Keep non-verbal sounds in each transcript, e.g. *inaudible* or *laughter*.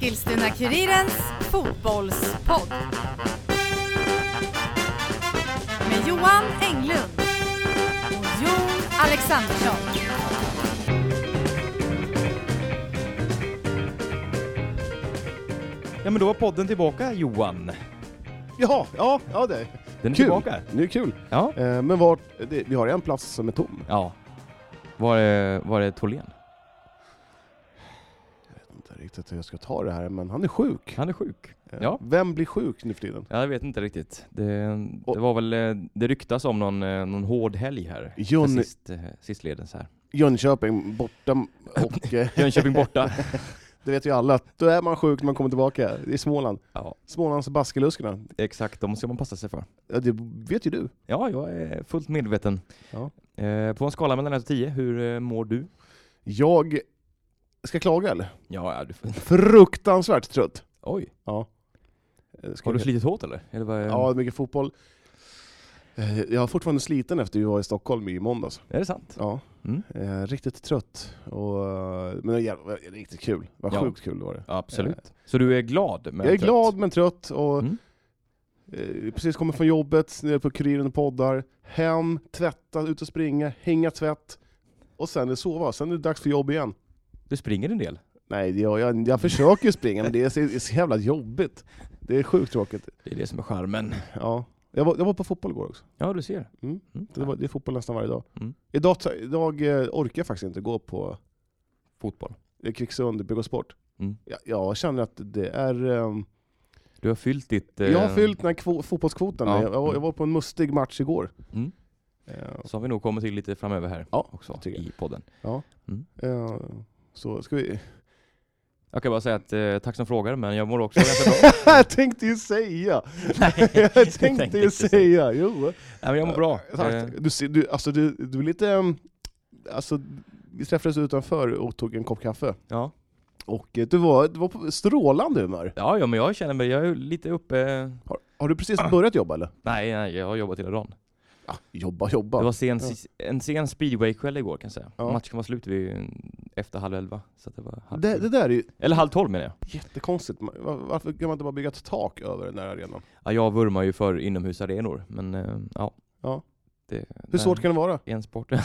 Sigtuna-Kurirens fotbollspodd. Med Johan Englund och Jon Alexandersson. Ja men då var podden tillbaka Johan. Jaha, ja, ja det är Den är kul. tillbaka. Nu är det kul. Ja. Eh, men vart, det, vi har en plats som är tom. Ja. Var det, var det Tholén? Jag vet inte riktigt hur jag ska ta det här, men han är sjuk. Han är sjuk. Eh, Ja. Vem blir sjuk nu för tiden? Ja, jag vet inte riktigt. Det, det Och- var väl, eh, det ryktas om någon, eh, någon hård helg här. Jön- Sist, eh, sistledens här. Jönköping borta *laughs* och eh, Jönköping borta. det vet ju alla att då är man sjuk när man kommer tillbaka. Det är Småland. ja, Smålands baskeluskarna. exakt. De ska man passa sig för. Ja, det vet ju du. Ja, jag är fullt medveten. Ja. Eh, på en skala mellan 1 och 10, hur eh, mår du? Jag ska klaga eller? Ja, ja, du får... Fruktansvärt trött. *laughs* Oj. Ja. Eh, ska Har du jag- slitit hårt eller? eller vad, Ja, mycket fotboll. Eh, Jag är fortfarande sliten efter vi var i Stockholm i måndags. Är det sant? Ja. Mm. Eh, riktigt trött, och, eh, men det var jävla- riktigt kul. Vad Ja. sjukt kul det var det. Absolut. Eh, Så du är glad? Men jag är trött? glad men trött och Mm. eh, precis kommer från jobbet, nere på Kuriren och poddar, hem, tvätta, ut och springa, hänga tvätt och sen är det sova. Sen är det dags för jobb igen. Du springer en del? Nej, det, jag, jag, jag försöker ju springa men det är, så, det är så jävla jobbigt. Det är sjukt tråkigt. Det är det som är charmen. Ja. Jag, var, jag var på fotboll igår också. Ja, du ser. Mm. Mm. Det, var, det är fotboll nästan varje dag. Mm. Idag, tar- idag eh, orkar jag faktiskt inte gå på Fotboll. eh, Kvicksund, BK Sport. Mm. Jag, jag känner att det är... ehm, Du har fyllt ditt... Jag har eh, fyllt den här kvo- fotbollskvoten. Ja. Jag, var, jag var på en mustig match igår. Mm. Eh, Som vi nog kommer till lite framöver här Ja, också tycker jag. i podden. eh, så ska vi... Jag kan bara säga att eh, tack som frågar, men jag mår *laughs* också ganska bra. jag tänkte *laughs* ju säga! Nej, jag du tänkte tänkte ju inte säga. säga! Jo. Nej, men jag mår bra. Eh, Tack. Du, ser- du, alltså, du, du är lite... ehm, Alltså, vi träffades utanför och tog en kopp kaffe. ja. Och eh, du var, du var på strålande humör. Ja, ja, men jag känner mig, jag är ju lite uppe... Har, har du precis Ah. börjat jobba eller? Nej, nej, jag har jobbat hela dagen. Ja, jobba, jobba. Det var sen, Ja. en sen speedwaykväll igår kan jag säga. Ja. Matchen var slut vid, efter halv elva. Så att det var halv det, det där är ju Eller halv tolv menar jag. jättekonstigt. Man- var- Varför kan man inte bara bygga ett tak över den där arenan? Ja, jag vurmar ju för inomhusarenor, men eh, ja. Ja. Det, Hur svårt kan det vara? En sport. *laughs*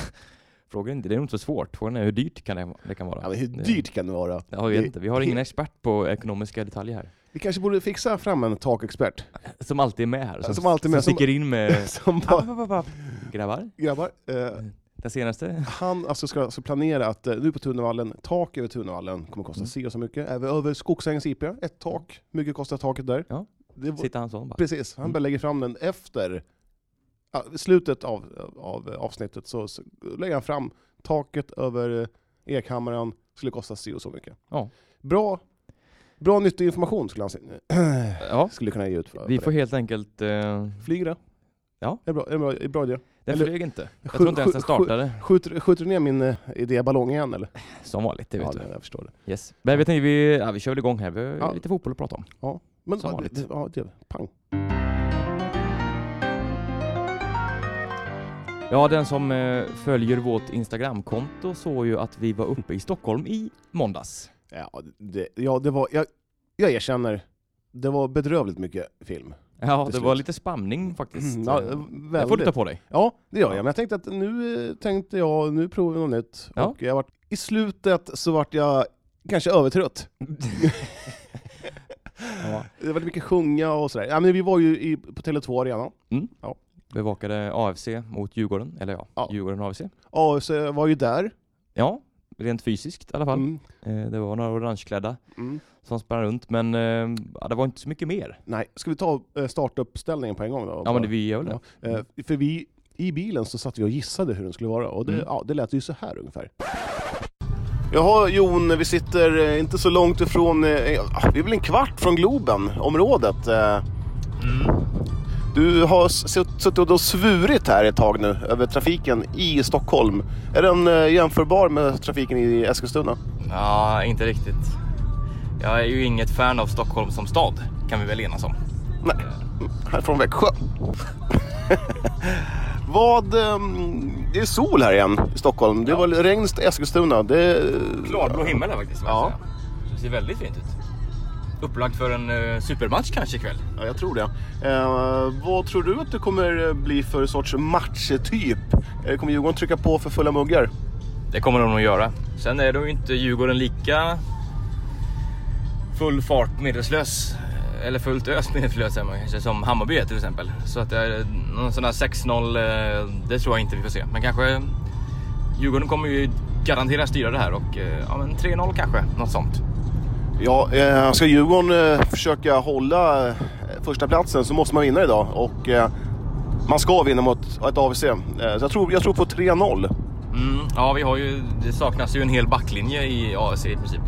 Frågan är inte, det är nog inte så svårt. Frågan är hur dyrt kan det, det kan vara. Ja, men hur Det- dyrt kan det vara? Ja, jag vet Det- inte. Vi har ingen expert på ekonomiska detaljer här. Vi kanske borde fixa fram en takexpert. Som alltid är med här. Som, Som alltid är med, Som som- sticker in *laughs* med... Som Ah, bara, ah, ah, ah. Grabbar, grabbar, eh, den senaste? han alltså ska alltså planera att eh, nu på Tunavallen, tak över Tunavallen kommer kosta Mm. si och så mycket. Även över Skogsängens IP, ett tak. Hur mycket kostar taket där? Ja. Mm. Det var, Sitter han sån bara? precis, han bara lägger fram den efter ah, slutet av, av avsnittet så, så lägger han fram taket över eh, Ekhammaren, skulle kosta si och så mycket. Ja. Bra, bra nyttig information skulle han se- *clears throat* Ja. skulle kunna ge ut. För, Vi för får det. helt enkelt... Eh, Flyger det? Ja. Är det bra, är det bra, är det bra idé? den Eller- flög inte. Jag Sju- tror inte ens sju- den startade. Skjuter, skjuter du ner min eh, idéballong igen eller? Som vanligt, det vet ja, du. det- jag förstår det. Yes. Men jag tänkte, vi, ja, vi kör väl igång här. Vi har Ja. lite fotboll att prata om. Men Som ja, det, vanligt. det, ja, det, pang. Ja, den som eh, följer vårt Instagramkonto såg ju att vi var uppe i Stockholm i måndags. Ja, det, ja, det var, jag, jag erkänner, det var bedrövligt mycket film. Ja, det Till slut. var lite spamning faktiskt. Ja, Eh, det väldigt. får du ta på dig. ja, det gör jag. Men jag tänkte att nu eh, tänkte jag, nu provar vi något nytt. Ja. Och jag vart, I slutet så vart jag kanske övertrött. *laughs* Ja. Det var mycket sjunga och sådär. Ja, men vi var ju i, på Tele2 Arena. Bevakade AFC mot Djurgården, eller ja, Ja. Djurgården AFC. Ja, så jag var ju där. Ja, rent fysiskt i alla fall. Mm. Eh, det var några orangeklädda Mm. som sprang runt, men eh, ja, det var inte så mycket mer. Nej, ska vi ta eh, startuppställningen på en gång då? Ja, men det vi gör väl det. Ja, eh, För vi, i bilen så satt vi och gissade hur den skulle vara och det, Mm. ja, det lät ju så här ungefär. Jaha Jon, vi sitter eh, inte så långt ifrån, eh, ah, vi är väl en kvart från Globen, området. eh. Mm. Du har s- sutt- suttit och svurit här ett tag nu över trafiken i Stockholm. Är den eh, jämförbar med trafiken i Eskilstuna? Ja, inte riktigt. Jag är ju inget fan av Stockholm som stad, kan vi väl enas om. Nej, här från Växjö. Vad... eh, Det är sol här igen i Stockholm. Det var regn i Eskilstuna. Det, Klarblå himmel här faktiskt. jag Ja. Det ser väldigt fint ut. upplagt för en eh, supermatch kanske ikväll. Ja, jag tror det. Eh, vad tror du att det kommer bli för sorts matchtyp? Eh, kommer Djurgården trycka på för fulla muggar? Det kommer de nog göra. Sen är de ju inte Djurgården lika full fart medelslös. Eller fullt ös medelslös säger man kanske, som Hammarby är till exempel. Så att det är någon sån här 6-0, eh, det tror jag inte vi får se. Men kanske Djurgården kommer ju garanterat styra det här och eh, ja, men 3-0 kanske, något sånt. Ja, eh, ska Djurgården eh, försöka hålla eh, första platsen så måste man vinna idag. Och eh, man ska vinna mot ett AVC. Eh, så jag tror, jag tror på 3-0. Mm, ja, vi har ju, det saknas ju en hel backlinje i AFC i princip.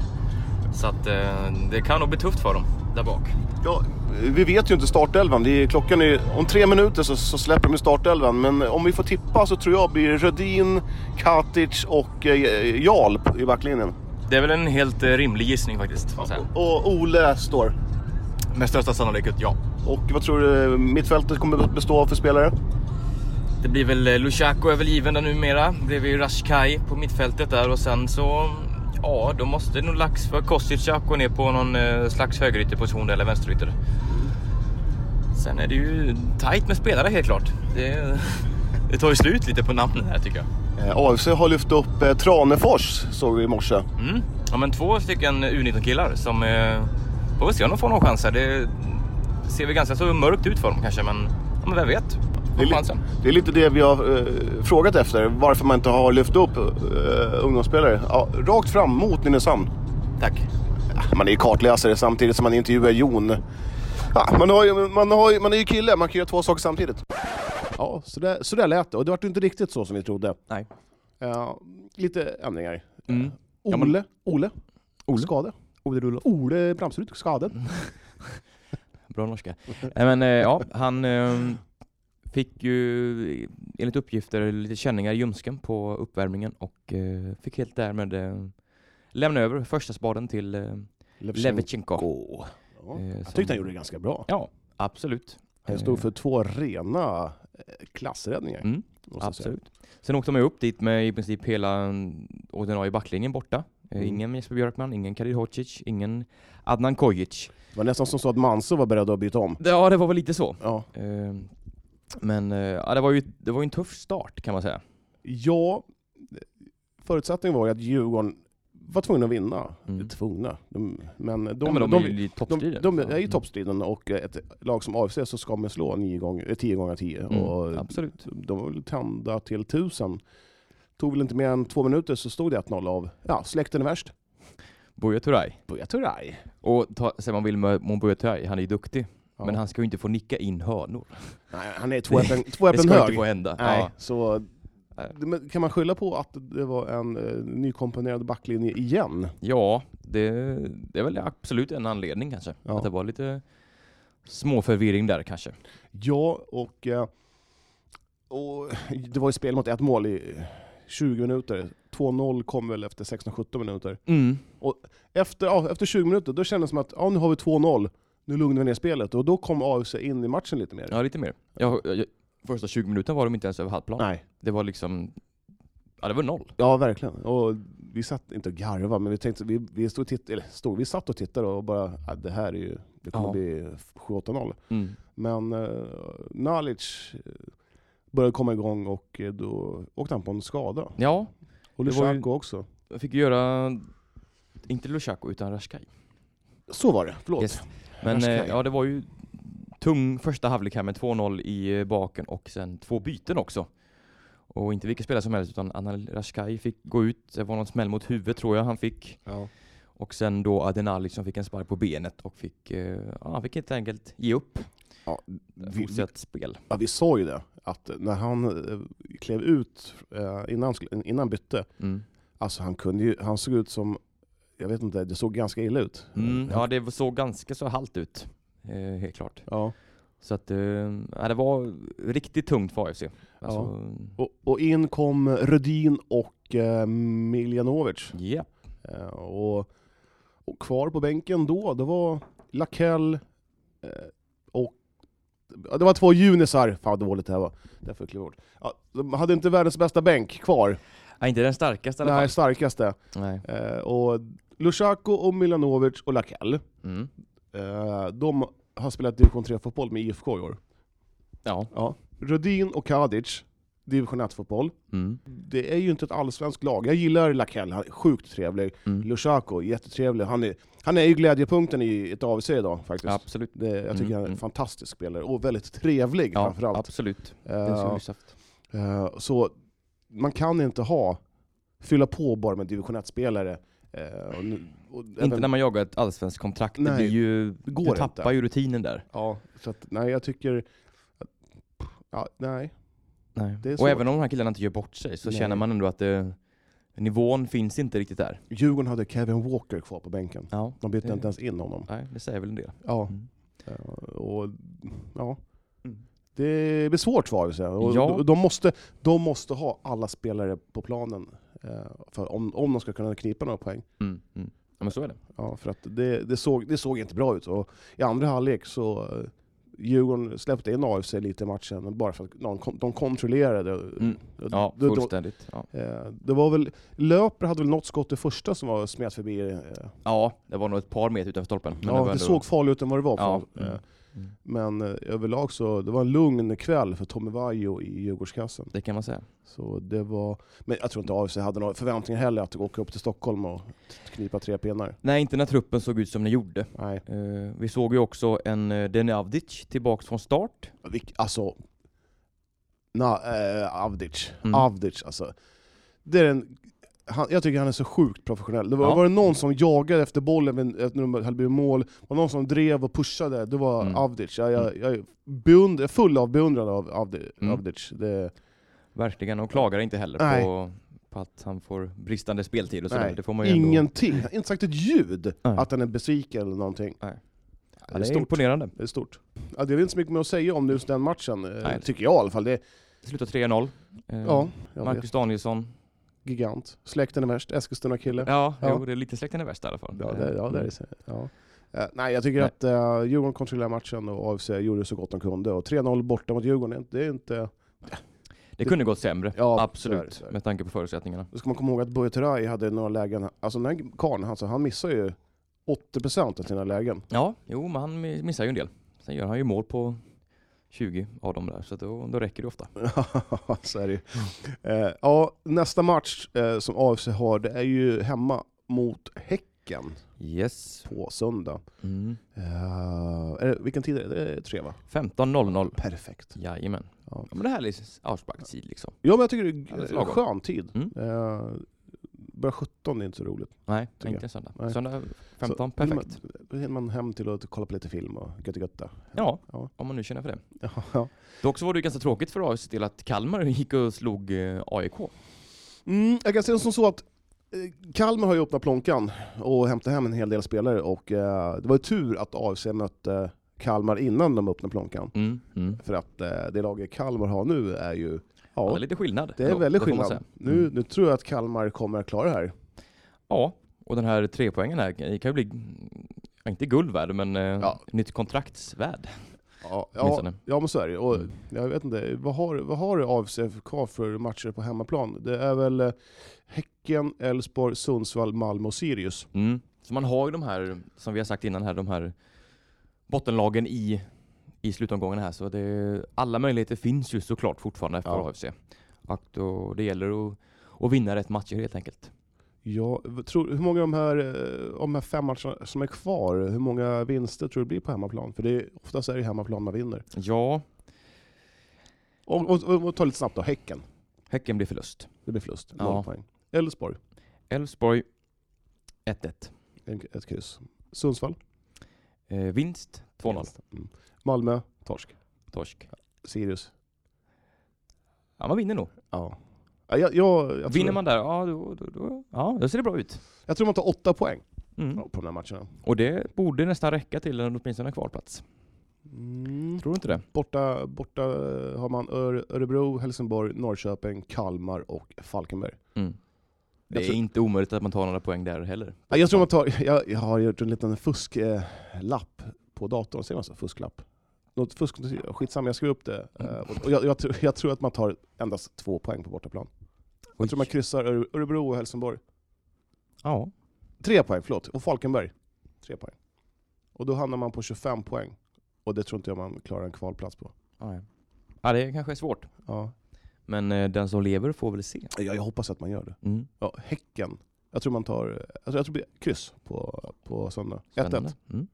Så att eh, det kan nog bli tufft för dem där bak. Ja, vi vet ju inte startelvan. Det är, klockan är, om tre minuter så, så släpper de startelvan. Men om vi får tippa så tror jag blir Rödin, Katic och eh, Jarl i backlinjen. Det är väl en helt eh, rimlig gissning faktiskt. får jag säga. Och Ole står. Med största sannolikhet ja. Och vad tror du mittfältet kommer att bestå av för spelare? Det blir väl eh, Lushako är väl given där numera. Det blev ju Rashkai på mittfältet där och sen så... Ja, då måste det nog lax för Kostica gå ner på någon eh, slags högerytterposition eller vänsterytter. Sen är det ju tajt med spelare helt klart. Det, *laughs* det tar ju slut lite på namnen här tycker jag. Eh, AFC har lyft upp eh, Tranefors, såg vi i morse. Mm. Ja, men två stycken U19-killar som... Eh, får vi se om de får någon chans här. Det ser väl ganska så mörkt ut för dem kanske, men, ja, men vem vet? Det är, Får li- chansen. det är lite det vi har eh, frågat efter, varför man inte har lyft upp eh, ungdomsspelare. Ja, rakt fram mot Nynäshamn. Tack. Man är ju kartläsare samtidigt som man intervjuar Jon. Ja, man, har ju, man, har ju, man är ju kille, man kan göra två saker samtidigt. Ja, så där, så där lät det. Och det var inte riktigt så som vi trodde. Nej. Eh, lite ändringar. Mm. Ole, Ja, men- Ole. Ole? Skade. Ole Rullo. Ole Bramserud, skadad. Bra norska. Nej, men eh, ja, han eh, fick ju eh, enligt uppgifter lite känningar i ljumsken på uppvärmningen och eh, fick helt därmed eh, lämna över första spaden till eh, Levchenko. Ja. Eh, Jag som- tyckte han gjorde det ganska bra. Ja, absolut. Eh, Han stod för två rena eh, klassräddningar. Mm, måste jag säga. absolut. Sen åkte de ju upp dit med i princip hela mm, ordinarie backlinjen borta. Eh, Mm. Ingen Jesper Björkman, ingen Kadir Hodzic, ingen Adnan Kojic. Det var nästan som så att Manso var beredd att byta om. Ja, det var väl lite så. Ja, Eh, Men eh, ja, det var ju det var ju en tuff start kan man säga. ja förutsättningen var ju att Djurgården var tvungna att vinna. Mm. Tvungna. De, men de, ja, men de, är ju Mm. i de, toppstriden. de är Ja. i toppstriden och eh, ett lag som AFC så ska man slå 10 gånger 10. Gånger 10 Mm, och absolut. de var väl tända till tusen. Tog väl inte mer än två minuter så stod det 1-0 av ja, släkten är värst. Buya Turay. Buya Turay. Och ta, säger man vill med Mon Buya Turay, han är ju duktig. Ja. Men han ska ju inte få nicka in hörnor. Nej, Han *laughs* är två äpplen två Det äpplen ska inte hög. få hända. Nej, Ja. så, Nej. det- men kan man skylla på att det var en eh, nykomponerad backlinje igen? Ja, det, det är väl absolut en anledning kanske. Ja. Att det var lite småförvirring där kanske. Ja, och, eh, och det var ju spel mot ett mål i 20 minuter. 2-0 kom väl efter 16-17 minuter. Mm. Efter, ja, efter 20 minuter då kändes det som att ja, nu har vi 2-0, nu lugnar vi ner spelet. Och då kom AFC in i matchen lite mer. Ja, lite mer. Jag, jag, första 20 minuterna var de inte ens över halvplan. Nej. Det var liksom... Ja, det var noll. Ja, verkligen. Och vi satt inte och garvade, men vi, tänkte, vi, vi, stod och titt, eller, stod, vi satt och tittade och bara, ja, det här är ju, det kommer Ja. bli 7-8-0. Mm. Men eh, Nalic eh, började komma igång och eh, då åkte han på en skada. Ja, Och Det var ju- Lushako också. jag fick göra... Inte Lushako utan Rashkai. Så var det, förlåt. Yes. Men eh, Rashkai. ja, det var ju tung första halvlek här med 2-0 i eh, baken och sen två byten också. Och inte vilka spelare som helst utan Anna Rashkai fick gå ut. Det var någon smäll mot huvudet tror jag han fick. Ja. Och sen då Adenali som fick en spark på benet och fick, eh, ja, han fick helt enkelt ge upp Ja, vi, vi, fortsatt spel. ja, vi sa ju det, att när han eh, klev ut eh, innan, han skulle- innan han bytte, Mm. alltså han, kunde ju, han såg ut som, jag vet inte, det såg ganska illa ut. Mm, ja, det såg ganska så halt ut. Eh, helt klart. Ja. Så att, eh, ja, det var riktigt tungt för AFC. Alltså, Och, och in kom Rudin och eh, Miljanovic. ja. Eh, och, och kvar på bänken då, det var Lakell eh, och ja, det var två junisar. Fan vad dåligt det här var. Därför klev jag bort. Ja, de hade inte världens bästa bänk kvar. Nej, inte den starkaste i alla Den fall. starkaste. Nej. Eh, och Lushako och Milanovic och Lakell. Mm. Eh, de har spelat division 3-fotboll med IFK i år. Ja. Ja. Rudin och Kadic, division 1-fotboll. Mm. Det är ju inte ett allsvenskt lag. Jag gillar Lakell, han är sjukt trevlig. Mm. Lushako, jättetrevlig. Han är, han är ju glädjepunkten i ett AVC idag faktiskt. Absolut. Det, jag tycker Mm, han är en mm. fantastisk spelare, och väldigt trevlig Ja, framförallt. absolut. Det är så Eh, lysaft. eh, så man kan inte ha, fylla på bara med division 1-spelare. Eh, och nu- och Inte även- när man jagar ett allsvenskt kontrakt. Nej, det blir ju, det går du inte. tappar ju rutinen där. Ja, så att, nej jag tycker... Ja, nej. Nej. Det är Och svårt. även om de här killarna inte gör bort sig så Nej. känner man ändå att det, nivån finns inte riktigt där. Djurgården hade Kevin Walker kvar på bänken. Ja, De bytte det- inte ens in honom. nej, det säger väl en del. Ja. Mm. Eh, Och, ja. Mm. Det blir svårt för AFC. Och Ja. de- de, måste, de måste ha alla spelare på planen eh, för om, om de ska kunna knipa några poäng. Mm. Mm. Ja, men så är det. Ja, för att det, det, såg, det såg inte bra ut. Och I andra halvlek så eh, Djurgården släppte in AFC lite i matchen bara för att de, kon- de kontrollerade. Mm. Och Ja, de- de, fullständigt. Ja. Eh, Det var väl, Löper hade väl något skott det första som var smet förbi. eh, ja, det var nog ett par meter utanför stolpen. men Ja, var det ändå- såg farligt ut än vad det var. Ja. för- eh, Mm. Mm. Men eh, överlag så, det var en lugn kväll för Tommy Vaiho i Djurgårdskassen. Det kan man säga. Så det var, men jag tror inte AFC hade några förväntningar heller att åka upp till Stockholm och t- knipa tre pinnar. Nej, inte när truppen såg ut som den gjorde. Nej. Eh, vi såg ju också en uh, Denavdic tillbaks från start. Vilk, alltså, na, eh, Avdic. Mm. Avdic alltså. Det är en, han, jag tycker han är så sjukt professionell. Det var, Ja. var det någon som jagade efter bollen vid- efter när de hade blivit mål, var det någon som drev och pushade, det var Mm. Avdic. Jag, jag, jag är beundra, full av beundran av Avdi, Mm. Avdic. Det, Verkligen, och klagar inte heller Nej. på, på att han får bristande speltid och sådär. nej, Det får man ju ändå... ingenting. Han har inte sagt ett ljud Nej. att han är besviken eller någonting. Nej. Ja, Ja, det, är stort. imponerande. det är stort. Ja, det är väl inte så mycket mer att säga om just den matchen, eh, Nej. tycker jag i alla fall. Det, Det slutar 3-0. Eh, ja, jag vet. Marcus Danielsson. Gigant. Släkten är värst, Eskilstuna-kille. Ja, Ja. Jo, det är lite släkten är värst i alla fall. Ja, det, ja, det är det. Ja. Eh, nej, jag tycker Nej. att eh, Djurgården kontrollerade matchen och AFC gjorde så gott de kunde. Och 3-0 borta mot Djurgården, det är inte- det är inte... Mm. Det kunde gått sämre. Ja, så är det, Absolut, så är det. med tanke på förutsättningarna. Då ska man komma ihåg att Buya Turay hade några lägen... Alltså den här karln, alltså, han missar ju 80% av sina lägen. Ja, jo, men han mi- missar ju en del. Sen gör han ju mål på 20 av dem där, så att då, då räcker det ofta. *laughs* så är det ju. Eh, ja, nästa match eh, som AFC har, det är ju hemma mot Häcken Yes. på söndag. Mm. Eh, är det, vilken tid är det? Det är tre va? 15.00. Perfekt. Jajamän. Ja. Ja. men det här är avsparkstid liksom. Ja, men jag tycker det Ja, det är är en lagom. skön tid. Mm. Eh, börja 17 är inte så roligt. Nej, Tycker inte söndag. Nej. Söndag 15, Så vill perfekt. man- Då hinner man hem till att kolla på lite film och götta götta. Ja, Ja. om man nu känner för det. *laughs* Ja. Dock så var det ju ganska tråkigt för AIK till att Kalmar *laughs* gick och slog eh, AIK. Mm, jag kan säga som så att eh, Kalmar har ju öppnat plånkan och hämtat hem en hel del spelare och eh, det var ju tur att AFC mötte Kalmar innan de öppnade plånkan. Mm. Mm. För att eh, det laget Kalmar har nu är ju... Ja. Det Ja, är lite skillnad. det är ändå, väldigt får man skillnad. säga. Mm. Nu, nu tror jag att Kalmar kommer att klara det här. Ja, och den här trepoängen här kan ju bli, mm, inte guld värd, men eh, Ja. nytt kontraktsvärd. Ja, ja, Åtminstone. ja men så är det ju. Och Mm. Jag vet inte, vad har, vad har AFC kvar för matcher på hemmaplan? Det är väl eh, Häcken, Elfsborg, Sundsvall, Malmö och Sirius. Mm. Så man har ju de här, som vi har sagt innan här, de här bottenlagen i, i slutomgången här. Så det, alla möjligheter finns ju såklart fortfarande för Ja. AFC. Och då, det gäller att, att vinna rätt matcher helt enkelt. Jag v- tror, hur många av de här, eh, av de här fem matcherna som är kvar, hur många vinster tror du det blir på hemmaplan? För det är, oftast är det hemmaplan man vinner. Ja, Och, och, och, och ta lite snabbt då, Häcken. Häcken blir förlust. Det blir förlust, Ja. noll poäng. Elfsborg, Elfsborg 1-1. en- ett kryss. Sundsvall, Eh, vinst 2-0. Mm. Malmö, torsk. Torsk. Sirius. Ja, man vinner nog. Ja. Ja, Jag, jag, Vinner jag, tror, man där, ja då, då, då, ja, då ser det bra ut. jag tror man tar åtta poäng Mm. ja, på de här matcherna. Och det borde nästan räcka till en åtminstone kvalplats. Mm. Tror du inte det? Borta, borta eh, har man Öre- Örebro, Helsingborg, Norrköping, Kalmar och Falkenberg. Mm. Det är tror- inte omöjligt att man tar några poäng där heller. Ja, Jag tror man tar, jag, jag har gjort en liten fusklapp på datorn, säger man så? Fusklapp? Något fusk, skitsamma, jag skrev upp det. Eh, Mm. och- Och jag, jag, tror, jag tror att man tar endast två poäng på bortaplan. Jag Oj. tror man kryssar Öre- Örebro och Helsingborg. Ja. Tre poäng, förlåt. Och Falkenberg. Tre poäng. Och då hamnar man på 25 poäng. Och det tror inte jag man klarar en kvalplats på. Ja, ja. ja, det kanske är svårt. Ja. Men eh, den som lever får väl se. Jag, jag hoppas att man gör det. Mm. Ja, häcken. Jag tror man tar... Jag tror, jag tror det blir kryss på, på söndag. 1-1. Spännande. Mm.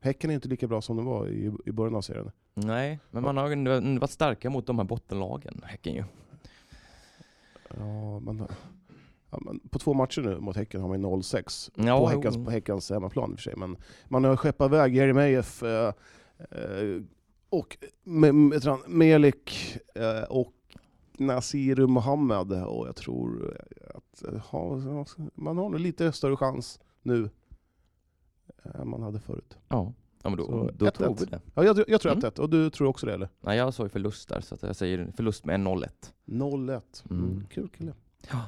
Häcken är inte lika bra som den var i, i början av serien. Nej, men man har ju ändå ändå varit starka mot de här bottenlagen, Häcken ju. Ja, men, ja, men på två matcher nu mot Häcken har man 0-6. Ja, på, jo. häckans, på Häckens hemmaplan i och för sig. Men man har skeppat iväg Jeremejeff eh, eh, och Me- Me- heter han? Melik eh, och Nasiru Mohammed. Och jag tror att eh, ha, man har nog lite större chans nu än man hade förut. Ja, ja men Så, då, då 1-1. tror vi det. Ja, jag, jag tror Mm. 1-1 och du tror också det eller? Nej, jag sa ju förlust där, så att jag säger förlust med 0-1. 0-1. Mm. Mm. Kul kille. Ja.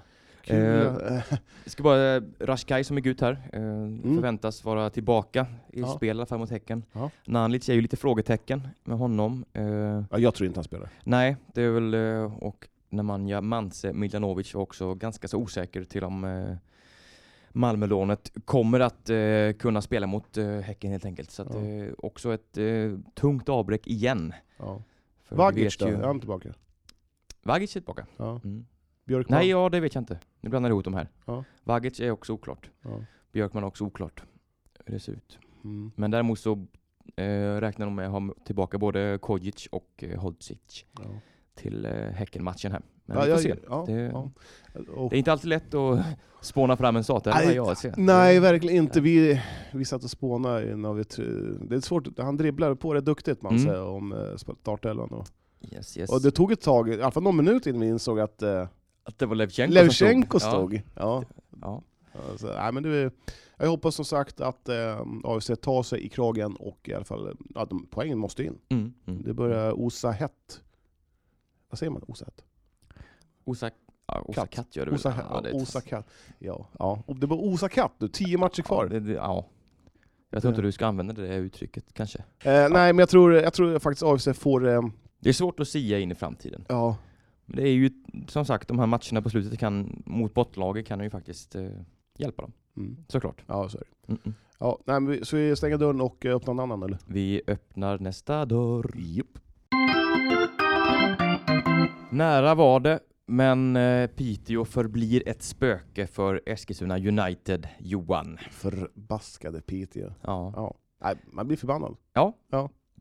Kul, Eh, eh, Jag ska bara, eh, Rashkai som gick ut här, eh, förväntas vara tillbaka i Mm. Ja. spel i alla fall mot Häcken. Ja. Nalic är ju lite frågetecken med honom. Eh, ja, jag tror inte han spelar. nemanja nej, det är väl, eh, och Nemanja Manse Miljanovic var också ganska så osäker till om eh, Malmölånet kommer att eh, kunna spela mot eh, Häcken helt enkelt. Så att, Ja. eh, också ett eh, tungt avbräck igen. Ja. För vi Vagic vet då? ju- Är han tillbaka? Vagic är tillbaka. Ja. Mm. Björkman? Nej, ja det vet jag inte. Nu blandar jag ihop de här. Ja. Vagic är också oklart. Ja. Björkman är också oklart hur det ser ut. Mm. Men däremot så eh, räknar de med att ha tillbaka både Kojic och eh, Hodzic Ja. till eh, Häckenmatchen här. Men Ja, vi får jag, se. ja, Det- ja. Och, Det är inte alltid lätt att *laughs* spåna fram en startelva Nej, i AIC. nej, verkligen inte. Vi, vi satt och spånade innan vi... tr- Det är svårt, han dribblar på det duktigt man Mm. säger om eh, startelvan. Och, Yes, yes. och det tog ett tag, i alla fall någon minut innan vi insåg att eh, Att det var Levchenko, Levchenko som stod. Ja. Ja, Alltså, nej, men det är, jag hoppas som sagt att eh, AFC tar sig i kragen och i alla fall eh, att de, poängen måste in. ja. Mm, mm. Det börjar osa hett. Vad säger man? Osa hett? Osak... Ja, Osa Katt. Katt gör det väl? Osa, Ja, det är- osa katt. Ja, ja. Och det var osa katt nu, tio matcher kvar. Ja, det, det, ja. Jag tror inte du ska använda det där uttrycket kanske. Eh, Nej, men jag tror, jag tror faktiskt AFC får... Eh, Det är svårt att sia in i framtiden. ja, Men det är ju som sagt de här matcherna på slutet kan, mot bottlaget kan ju faktiskt eh, hjälpa dem mm, såklart. ja, så är det. Mm-mm. Ja, nej, men vi, så vi stänger dörren och eh, öppnar en annan eller? Vi öppnar nästa dörr. Japp. Nära var det, men eh, Piteå förblir ett spöke för Eskilstuna United, Johan. Förbaskade Piteå. Ja, Ja. Nej, man blir förbannad.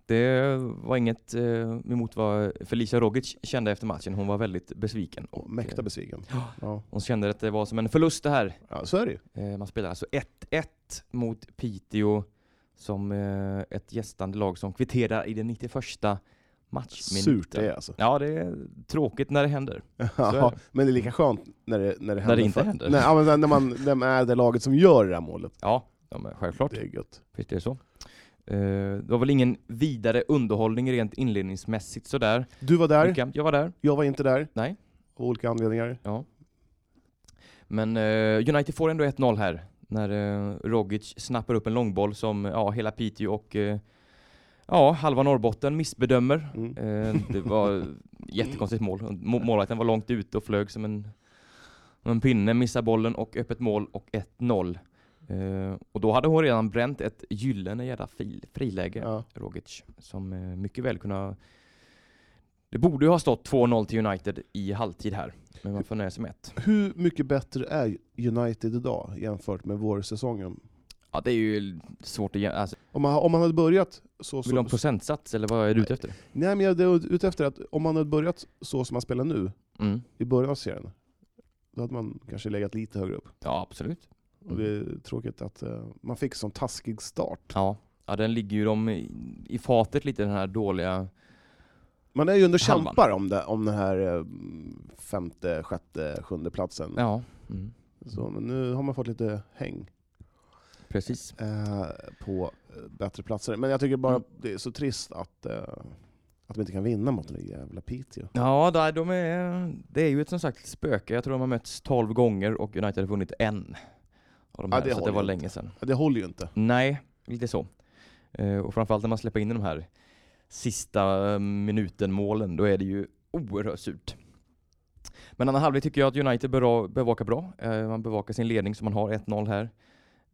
det var inget eh, emot vad Felicia Rogic kände efter matchen. Hon var väldigt besviken. Och mäkta besviken. Ja. Ja. Hon kände att det var som en förlust det här. ja, så är det ju. Eh, man spelar alltså 1-1 mot Piteå som eh, ett gästande lag som kvitterar i den 91 matchminuten. Surt det är alltså. Ja, det är tråkigt när det händer. det. Ja, men det är lika skönt när det, när det händer. det inte för- händer. Nej, ja, men när, när, man, när man är det laget som gör det här målet. Ja, ja men självklart. Det är gött. Visst är det så. Eh, det var väl ingen vidare underhållning rent inledningsmässigt sådär. Du var där, Mickan, Jag var där. jag var inte där. Nej. Av olika anledningar. Men eh, United får ändå 1-0 här. När eh, Rogic snappar upp en långboll som ja, hela Piteå och eh, ja, halva Norrbotten missbedömer. Mm. Eh, Det var jättekonstigt mål. Må- Målvakten var långt ute och flög som en, som en pinne, missade bollen och öppet mål och 1-0. Eh, och då hade hon redan bränt ett gyllene jävla fil, friläge, Ja. Rogic, som eh, mycket väl kunde ha... Det borde ju ha stått 2-0 till United i halvtid här, men man får nöja sig med ett. Hur mycket bättre är United idag jämfört med vårsäsongen? Ja, det är ju svårt att jäm- alltså, Om man, om man hade börjat så... Vill du ha en så procentsats eller vad är du ute efter? nej, men jag är ute efter att om man hade börjat så som man spelar nu, Mm. i början av serien, då hade man kanske legat lite högre upp. Ja, absolut. Och det Mm. är tråkigt att eh, man fick sån taskig start. Ja. ja, den ligger ju dem i, i fatet lite, den här dåliga Man är ju ändå Halvan. kämpar om, det, om den här eh, femte, sjätte, sjunde platsen. Ja, mm. Så, men nu har man fått lite häng precis. eh, på eh, bättre platser. Men jag tycker bara Mm. det är så trist att, eh, att de inte kan vinna mot den där jävla Piteå. Ja, där, de är, det är ju ett som sagt spöke. Jag tror de har mötts 12 gånger och United har vunnit en. Av de Ja, här, det så att det håller var inte. länge sedan. Ja, Det håller ju inte. Nej, lite så. Eh, och framförallt när man släpper in de här sista eh, minuten-målen, då är det ju oerhört surt. Men andra halvlek tycker jag att United bera- bevakar bra. Eh, man bevakar sin ledning som man har, 1-0 här.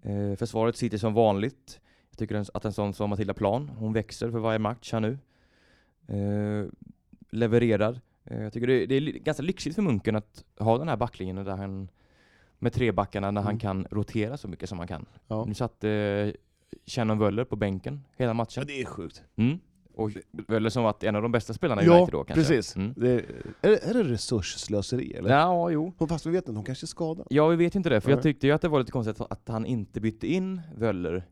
Eh, försvaret sitter som vanligt. Jag tycker en- att en sån som Matilda Plan, hon växer för varje match här nu. Eh, levererar. Eh, jag tycker det, det är li- ganska lyxigt för Munken att ha den här backlinjen där han med trebackarna när han Mm. kan rotera så mycket som han kan. Ja. Nu satt eh, Shannon Wöller på bänken hela matchen. det är sjukt. Mm. Och Wöller som varit en av de bästa spelarna i Ja, United då kanske. precis. Mm. Det är, är, det- är det resursslöseri eller? Ja, jo. Hon- Fast vi vet inte, hon kanske är skadad. Ja, vi vet ju inte det, för jag Nej. tyckte ju att det var lite konstigt att han inte bytte in Wöller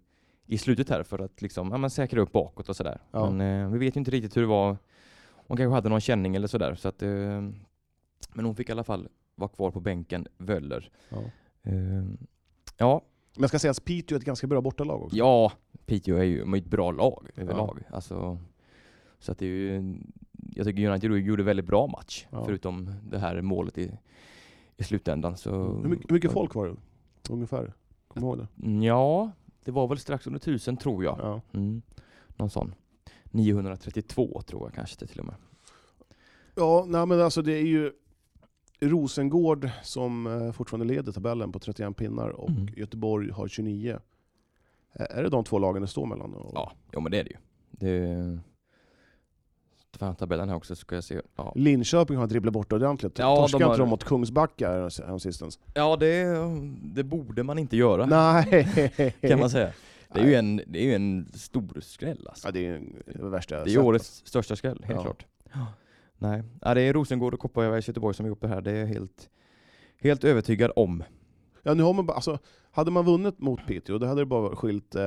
i slutet här för att liksom, ja, men säkra upp bakåt och sådär. Ja. Men eh, vi vet ju inte riktigt hur det var. Hon kanske hade någon känning eller sådär. Så att, eh, men hon fick i alla fall vara kvar på bänken, Wöller. Ja. Eh, ja, Men jag ska säga att Piteå är ett ganska bra bortalag också. ja, Piteå är ju ett bra lag överlag. Alltså, så att det är ju, jag tycker United gjorde en väldigt bra match, Ja. förutom det här målet i, i slutändan. Så, Hur mycket, hur mycket folk var det? Ungefär? Kommer du ihåg det? Ja, det var väl strax under 1000 tror jag. Ja. Mm. Någon sån. 932 tror jag kanske det till och med. Ja, nej, men alltså det är ju Rosengård som eh, fortfarande leder tabellen på 31 pinnar och Mm. Göteborg har 29. Ä- Är det de två lagen det står mellan? Och, Ja, jo men det är det ju. Det... Fan, tabellen här också ska jag se. Ja, Linköping har dribblat bort ordentligt. Ja, Torskade de har- inte de mot Kungsbacka här- häromsistens? ja det, det borde man inte göra Nej! kan *laughs* man säga. Det är ju en, det är ju en stor skräll alltså. Ja, det är ju det värsta jag Det är ju sett. årets största skräll, helt Ja. klart. Nej, ja, det är Rosengård och Kopparbergs Göteborg som har gjort det här. Det är jag helt, helt övertygad om. Ja, nu har man bara, alltså, hade man vunnit mot Piteå, då hade det bara skilt eh,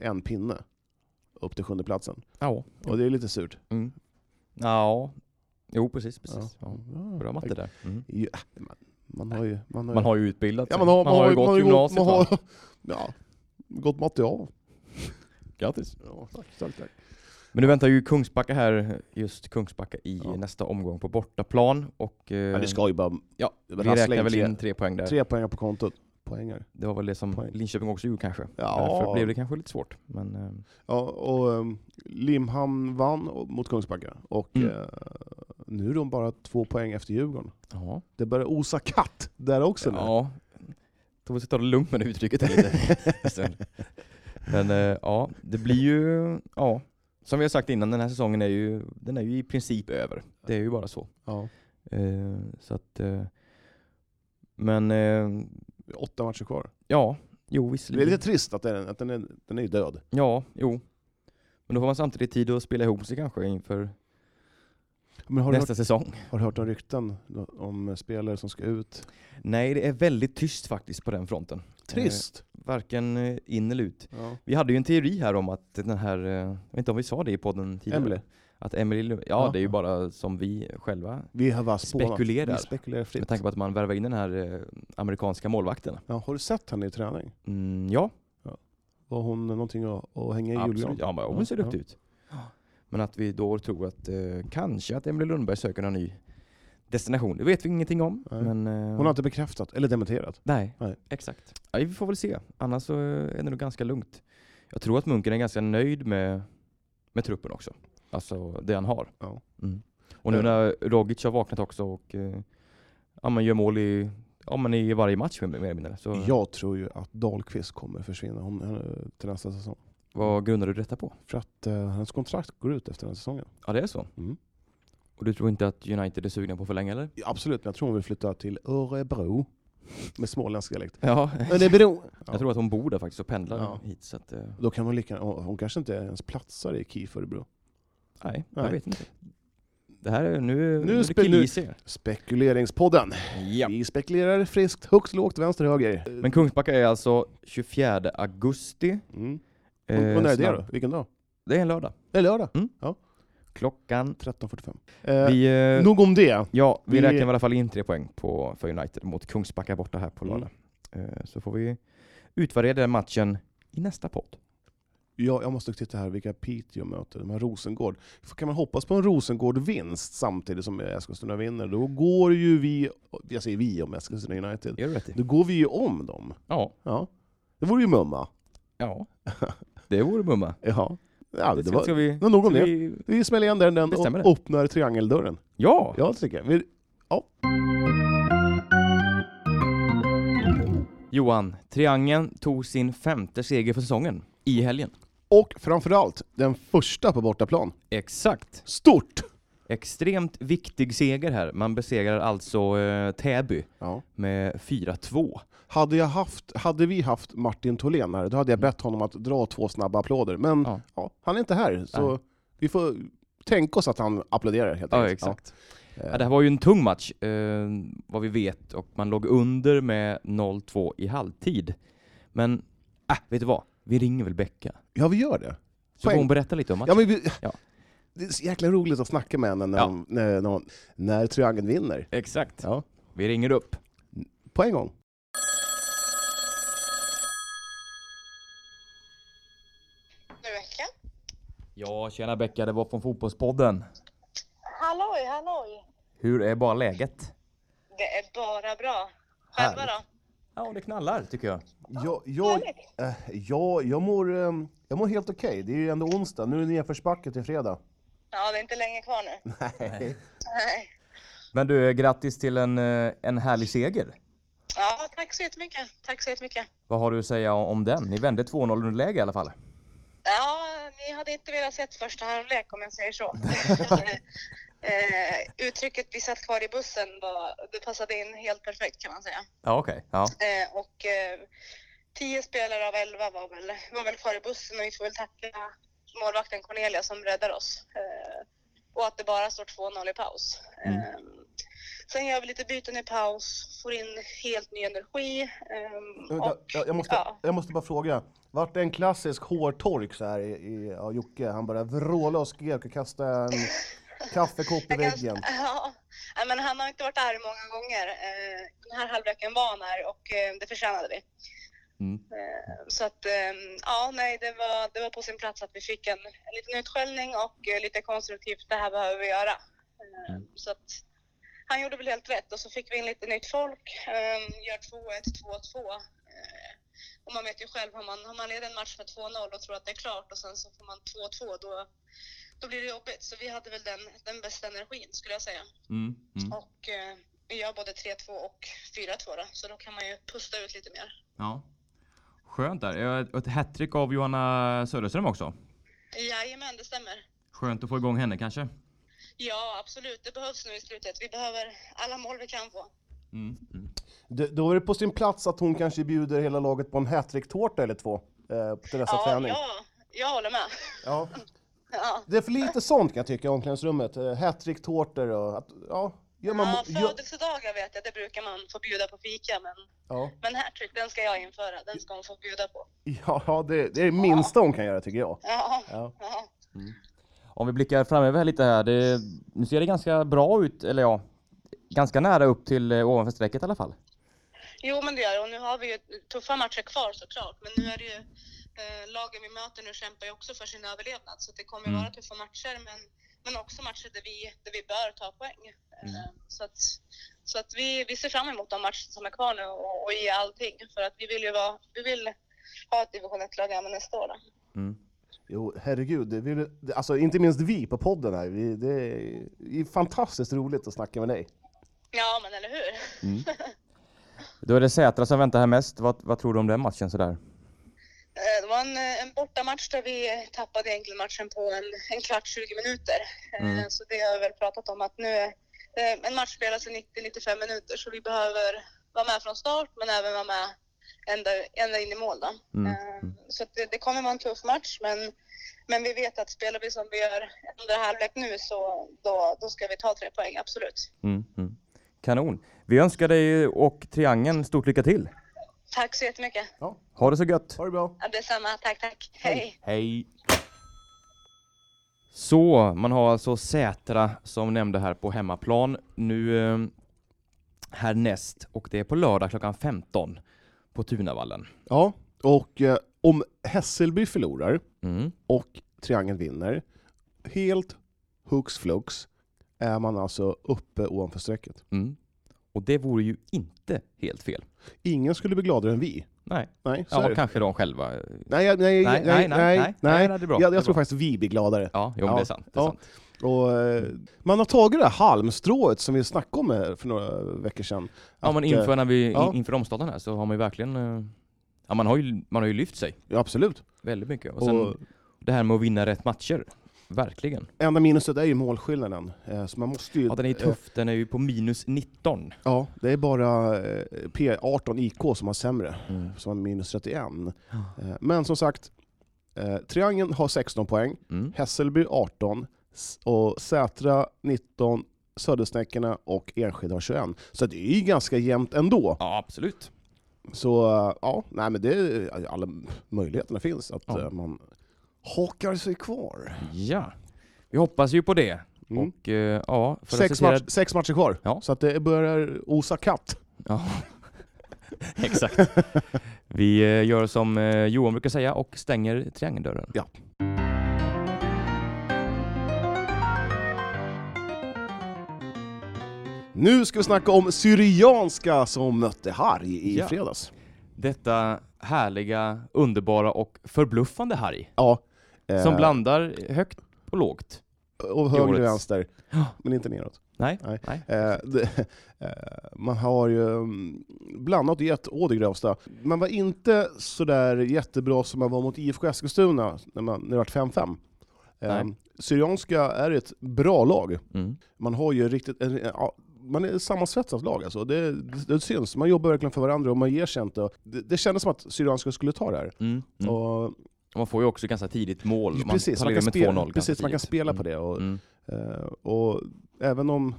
en pinne upp till sjunde platsen. Ja. Och det är lite surt. Mm. Ja. Jo, precis. precis. Ja. Ja. Bra matte där. Mm. Ja, man, man har ju... Man har, Man har ju utbildat ja, sig. man har, man har, ju man har gått gymnasiet. man har, va? Ja, gått matte av. *laughs* Grattis. Eh, Ja, tack, tack, tack. Men nu väntar ju Kungsbacka här, just Kungsbacka i Ja. nästa omgång på bortaplan. Och, eh, Ja, det ska ju bara ja, det vi är väl rassla räknar in väl tre- in tre poäng där. tre poäng på kontot. Poängar. Det var väl det som poäng. Linköping också gjorde kanske. Ja. Därför blev det kanske lite svårt. Men, eh, Ja, och ehm, Limhamn vann och- mot Kungsbacka. Och Mm. eh, nu är de bara två poäng efter Djurgården. ja. Det börjar osa katt där också nu. ja. Tove ska ta det lugnt med det uttrycket här *laughs* lite. en stund. Men eh, ja, det blir ju, ja. Som vi har sagt innan, den här säsongen är ju, den är ju i princip över. Det är ju bara så. Ja. Eh, så att, eh, men eh, Åtta matcher kvar. ja, jo Det är visserligen. lite trist att den, att den, är, den är ju död. Ja, jo. Men då får man samtidigt tid att spela ihop sig kanske inför Men har, du hört, nästa säsong. har du hört om rykten om spelare som ska ut? Nej, det är väldigt tyst faktiskt på den fronten. Trist! Varken eh, in eller ut. Ja. Vi hade ju en teori här om att den här, eh, jag vet inte om vi sa det i podden tidigare. Emily, Att Emily, Lu- ja Ja. det är ju bara som vi själva, vi har bara spånat. Spekulerar. Vi spekulerar fritt. med tanke på att man värvar in den här eh, amerikanska målvakten. Ja, har du sett henne i träning? Mm, ja, Var hon någonting att, att hänga i absolut. julgran? Ja, men hon ser Ja, duktig ut. Men att vi då tror att eh, kanske att Emily Lundberg söker någon ny destination. Det vet vi ingenting om. Nej. Men, eh, Hon har inte bekräftat, eller dementerat. Nej, Nej. exakt. Ja, vi får väl se. Annars så eh, är det nog ganska lugnt. Jag tror att Munken är ganska nöjd med, med truppen också. Alltså det han har. Ja. Mm. Och nu Eh. när Rogic har vaknat också och eh, ja, man gör mål i, ja, men i varje match mer eller mindre. Så Jag tror ju att Dahlqvist kommer försvinna hon, eh, till nästa säsong. vad grundar du detta på? För att eh, hennes kontrakt går ut efter den här säsongen. Ja det är så. Mm. Och du tror inte att United är sugna på att förlänga eller? Ja, absolut, men jag tror hon vill flytta till Örebro. Med småländsk dialekt. Ja. Örebro! Ja. Jag tror att hon bor där faktiskt och pendlar Ja. hit. Så att, eh, Då kan man lika, hon hon kanske inte ens platsar i KIF Örebro. nej, jag Nej. vet inte. Det här är nu... Nu Nu, spe- nu, nu- nu. ser. Spekuleringspodden. Ja. Vi spekulerar friskt, högt, lågt, vänster, höger. Men Kungsbacka är alltså 24 augusti. Mm. Och, Eh, och när är det snabb- då? Vilken dag? Det är en lördag. Det är lördag. Klockan. 13.45. Eh, Vi, eh, Nog om det. ja, vi, vi- räknar i alla fall in tre poäng på, för United mot Kungsbacka borta här Mm. på lördag. Eh, så får vi utvärdera den matchen i nästa podd. Ja, jag måste titta här vilka Piteå möter. De här Rosengård. Kan man hoppas på en Rosengård-vinst samtidigt som Eskilstuna vinner, då går ju vi, jag säger vi om Eskilstuna United, Är du rätt i? då går vi ju om dem. Ja. Ja. Det vore ju mumma. Ja. Det vore mumma. Ja. ja det Ska, ska var, vi... men nog om ska det. vi- Vi smäller igen den, den och Bestämmer det. öppnar triangeldörren. Ja! Ja, det tycker jag. Vi, Johan, Triangeln tog sin femte seger för säsongen i helgen. och framförallt den första på bortaplan. Exakt. Stort! Extremt viktig seger här. Man besegrar alltså eh, Täby Ja. med 4-2. Hade, jag haft, hade vi haft Martin Tholén här, då hade jag bett honom att dra två snabba applåder. Men ja. Mm. Ja. han är inte här, så Nej. vi får tänka oss att han applåderar helt Ja, enkelt. exakt. Ja. Liksom. Ja, det här var ju en tung match, eh, vad vi vet, och man låg under med 0-2 i halvtid. Men, äh, vet du vad? Vi ringer väl Becka, Ja, vi gör det. så får Poäng. hon berätta lite om matchen. Ja, men vi, Ja. Det är så jäkla roligt att snacka med henne när, Ja. hon, när, när, hon, när triangeln vinner. Exakt. Ja. Vi ringer upp. På en gång. Rebecka. Ja, tjena Becka, det var från Fotbollspodden. Halloj, halloj. Hur är bara läget? Det är bara bra. Själva då? Ja, det knallar tycker jag. Jag, jag, eh, jag, jag, mår, ehm, jag mår helt okej. Det är ju ändå onsdag. Nu är det nedförsbacke till fredag. Ja, det är inte länge kvar nu. Nej. Nej. Men du, grattis till en, eh, en härlig seger. Ja, tack så jättemycket. Tack så jättemycket. Vad har du att säga om den? Ni vände 2-0 underläge i alla fall. Ja, ni hade inte velat sett första halvlek om jag säger så. eh, uttrycket vi satt kvar i bussen var, det passade in helt perfekt kan man säga. Ja, okej. Ja. Eh, och eh, tio spelare av elva var väl, var väl kvar i bussen och vi får väl tacka målvakten Cornelia som räddar oss. Eh, och att det bara står 2-0 i paus. Eh, sen gör vi lite byten i paus, får in helt ny energi. Eh, Vänta, och, Jag, jag, måste, ja. jag måste bara fråga. Vart det en klassisk hårtork så här i, i av Jocke? Han bara vrålade och skrek och kastade en kaffekopp i Jag kan- väggen. *laughs* Ja, Nej, men han har inte varit arg många gånger. Eh, Den här halvleken var han arg och eh, det förtjänade vi. Mm. Eh, Så att, eh, ja, nej, det var, det var på sin plats att vi fick en, en liten utskällning och eh, lite konstruktivt, det här behöver vi göra. Eh, Så att, han gjorde väl helt rätt och så fick vi in lite nytt folk, eh, gör 2-1, 2-2. Eh, Och man vet ju själv, om man, om man leder en match med 2-0 och tror att det är klart och sen så får man 2-2, då, då blir det jobbigt. Så vi hade väl den, den bästa energin skulle jag säga. Mm. Mm. Och eh, vi gör både 3-2 och 4-2 då, så då kan man ju pusta ut lite mer. ja. Skönt där. Eh, Ett hattrick av Johanna Söderström också. Jajamän, det stämmer. Skönt att få igång henne kanske. Ja, absolut. Det behövs nu i slutet. Vi behöver alla mål vi kan få. Mm. Mm. D- Då är det på sin plats att hon kanske bjuder hela laget på en hattricktårta eller två eh, till nästa Ja, träning. ja, jag håller med. *laughs* Ja. Ja. Det är för lite sånt kan jag tycka i omklädningsrummet. Eh, Hattricktårtor och att, ja, gör man... Ja, gör, födelsedagar vet jag, det brukar man få bjuda på fika, men, ja, *laughs* men hattrick, den ska jag införa. Den ska hon få bjuda på. ja det, det är det minsta hon kan göra tycker jag. Ja, Ja. ja. Om vi blickar framöver här lite här. Det, nu ser det ganska bra ut, eller ja, ganska nära upp till eh, ovanför strecket i alla fall. Jo, men det gör det. Och nu har vi ju tuffa matcher kvar såklart, men nu är det ju eh, lagen vi möter nu kämpar ju också för sin överlevnad, så det kommer Mm. vara tuffa matcher, men, men också matcher där vi, där vi bör ta poäng. Eh, så att, så att vi, vi ser fram emot de matcher som är kvar nu och, och ge allting, för att vi vill ju vara, vi vill ha ett division 1-lag även nästa år. Då. Jo, herregud. Det, vi, det- alltså, inte minst vi på podden här. Vi, det, är, det är fantastiskt roligt att snacka med dig. Ja, men eller hur? Då är det Sätra som väntar här mest. Vad, vad tror du om den matchen sådär? Eh, Det var en, eh, en bortamatch där vi tappade enkelmatchen på en, en kvart, 20 minuter. Eh, Så det har jag väl pratat om att nu är eh, en match spelas i 90-95 minuter så vi behöver vara med från start men även vara med ända, ända in i mål. Då. Mm. Eh, Så att det, det kommer vara en tuff match men, men vi vet att spelar vi som vi gör andra halvlek nu så då, då ska vi ta tre poäng, absolut. Mm. Mm. Kanon. Vi önskar dig och Triangeln stort lycka till. Tack så jättemycket. Ja, Ha det så gött. ha det bra. Ja, Detsamma, tack tack. Hej. Hej! Så, man har alltså Sätra som nämnde här på hemmaplan nu eh, härnäst och det är på lördag klockan 15 på Tunavallen. Ja, och eh, om Hässelby förlorar Mm. och Triangeln vinner, helt hux flux är man alltså uppe ovanför strecket. Mm. Och det vore ju inte helt fel. Ingen skulle bli gladare än vi. Nej, Nej, så är ja, det. kanske de själva. eh, Nej, jag- nej, nej, nej, nej, nej, nej, nej, det är bra, Jag, det är jag tror bra. faktiskt vi blir gladare. Ja, jo, men det är sant. Det är ja. sant. Och, eh, man har tagit det här halmstrået som vi snackade om här för några veckor sedan. Ja, men Att, inför, eh, när vi, ja. in- inför omstarten här så har man ju verkligen eh, ja, man, har ju, man har ju lyft sig ja, absolut. väldigt mycket. Och Och sen, det här med att vinna rätt matcher. Verkligen. Enda minuset är ju målskillnaden. eh, Så man måste ju... Ja, den är ju eh, tuff. Den är ju på minus 19. Ja, det är bara eh, P18 IK som har sämre, Mm. som har minus 31. Eh, Men som sagt, eh, Triangeln har 16 poäng, Mm. Hässelby 18, S- och Sätra 19, Södersnäckarna och Enskede har 21. Så det är ju ganska jämnt ändå. Ja, absolut. Så eh, ja, nej, men det är, alla möjligheterna finns att Ja. eh, man hakar sig kvar. Ja. Vi hoppas ju på det. Mm. Och eh, ja, för att Sex, citera... match, sex matcher kvar, Ja. så att det börjar osa katt. Ja. *laughs* Exakt. Vi eh, gör som eh, Johan brukar säga och stänger triangeldörren. Ja. Nu ska vi snacka om Syrianska som mötte Harg i Ja. fredags. Detta härliga, underbara och förbluffande Harry. Ja. eh, Som blandar högt och lågt. och höger årets. och vänster, men inte neråt. Nej. Nej. Nej. Eh, det, eh, man har ju mm, blandat och gett å det grövsta. Man var inte sådär jättebra som man var mot IFK Eskilstuna när, man, när det var 5-5. Eh, Nej. Syrianska är ett bra lag. Mm. Man har ju riktigt... En, ja, man är ett sammansvetsat lag alltså. Det, det, det syns. Man jobbar verkligen för varandra och man ger sig inte. Det, det kändes som att Syrianska skulle ta det här. Mm. Mm. Och Man får ju också ganska tidigt mål. Man precis, man tar kan, med spela, 2-0 precis, ganska man kan tidigt. spela på det. Och, Mm. eh, och även om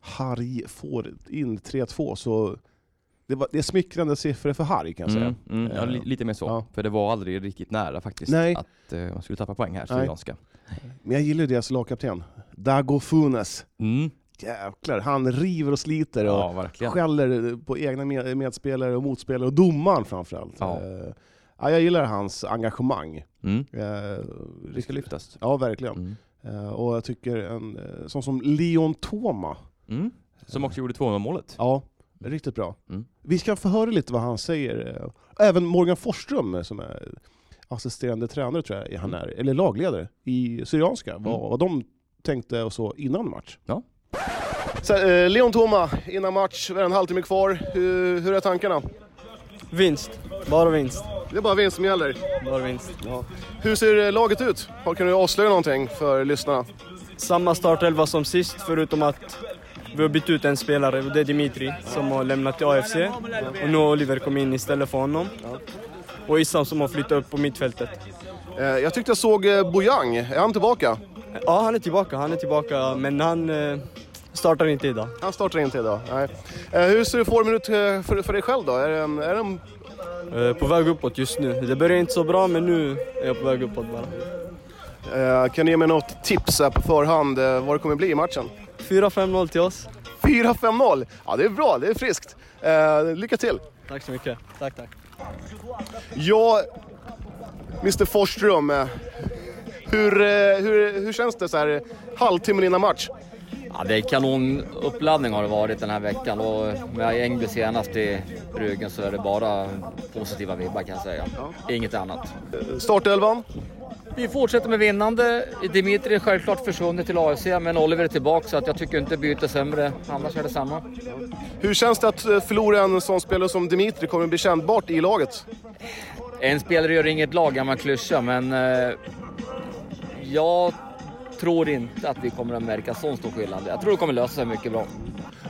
Harry får in 3-2 så det, var, det är smickrande siffror för Harry kan jag säga. Eh, Mm, mm, ja, li- lite mer så. Ja. För det var aldrig riktigt nära faktiskt Nej. att eh, man skulle tappa poäng här, Nej. Syrianska. Men jag gillar ju deras lagkapten, Dago Funes. Mm. Jäklar, han river och sliter och Ja, verkligen. skäller på egna med- medspelare och motspelare och domaren framförallt. Ja. Eh, ja, jag gillar hans engagemang. Mm. Eh, Det ska lyftas. Ja, verkligen. Mm. Eh, och jag tycker en eh, sån som Leon Toma, Mm. Som också gjorde 2-0 målet. Ja, riktigt bra. Mm. Vi ska få höra lite vad han säger. eh, Även Morgan Forsström eh, som är assisterande tränare tror jag han är, Mm. eller lagledare i Syrianska, vad, vad de tänkte och så innan match. Ja. eh, Leon Toma, innan match, är en halvtimme kvar. Hur, hur är tankarna? Vinst. Bara vinst. Det är bara vinst som gäller. Bara vinst. Hur ser eh, laget ut? Kan du avslöja någonting för lyssnarna? Samma startelva som sist, förutom att vi har bytt ut en spelare och det är Dimitri som har lämnat till AFC. Och nu har Oliver kommit in istället för honom. Och Issam som har flyttat upp på mittfältet. Jag tyckte jag såg eh, Bojang. Är han tillbaka? Ja, han är tillbaka, han är tillbaka, men han eh, startar inte idag. Han startar inte idag. Nej. Eh, Hur ser formen ut eh, för, för dig själv då? Är det, en- är det en Eh, på väg uppåt just nu. Det börjar inte så bra, men nu är jag på väg uppåt bara. Eh, Kan du ge mig något tips här på förhand eh, vad det kommer bli i matchen? 4-5-0 till oss. 4-5-0! Ja, det är bra. Det är friskt. Eh, lycka till! Tack så mycket. Tack, tack. Ja, Mr Forsström. eh, Hur, eh, hur, hur känns det så här eh, halvtimmen innan match? Ja, det är kanonuppladdning har det varit den här veckan och med Engby senast i ryggen så är det bara positiva vibbar kan jag säga. Inget annat. Eh, Startelvan? Vi fortsätter med vinnande. Dimitri är självklart försvunnit till AFC men Oliver är tillbaka så att jag tycker inte bytet är sämre. Annars är det samma. Hur känns det att eh, förlora en sån spelare som Dimitri kommer bli kännbart i laget? En spelare gör inget lag, gammal klyscha, men eh, jag tror inte att vi kommer att märka sån stor skillnad. Jag tror det kommer lösa sig mycket bra.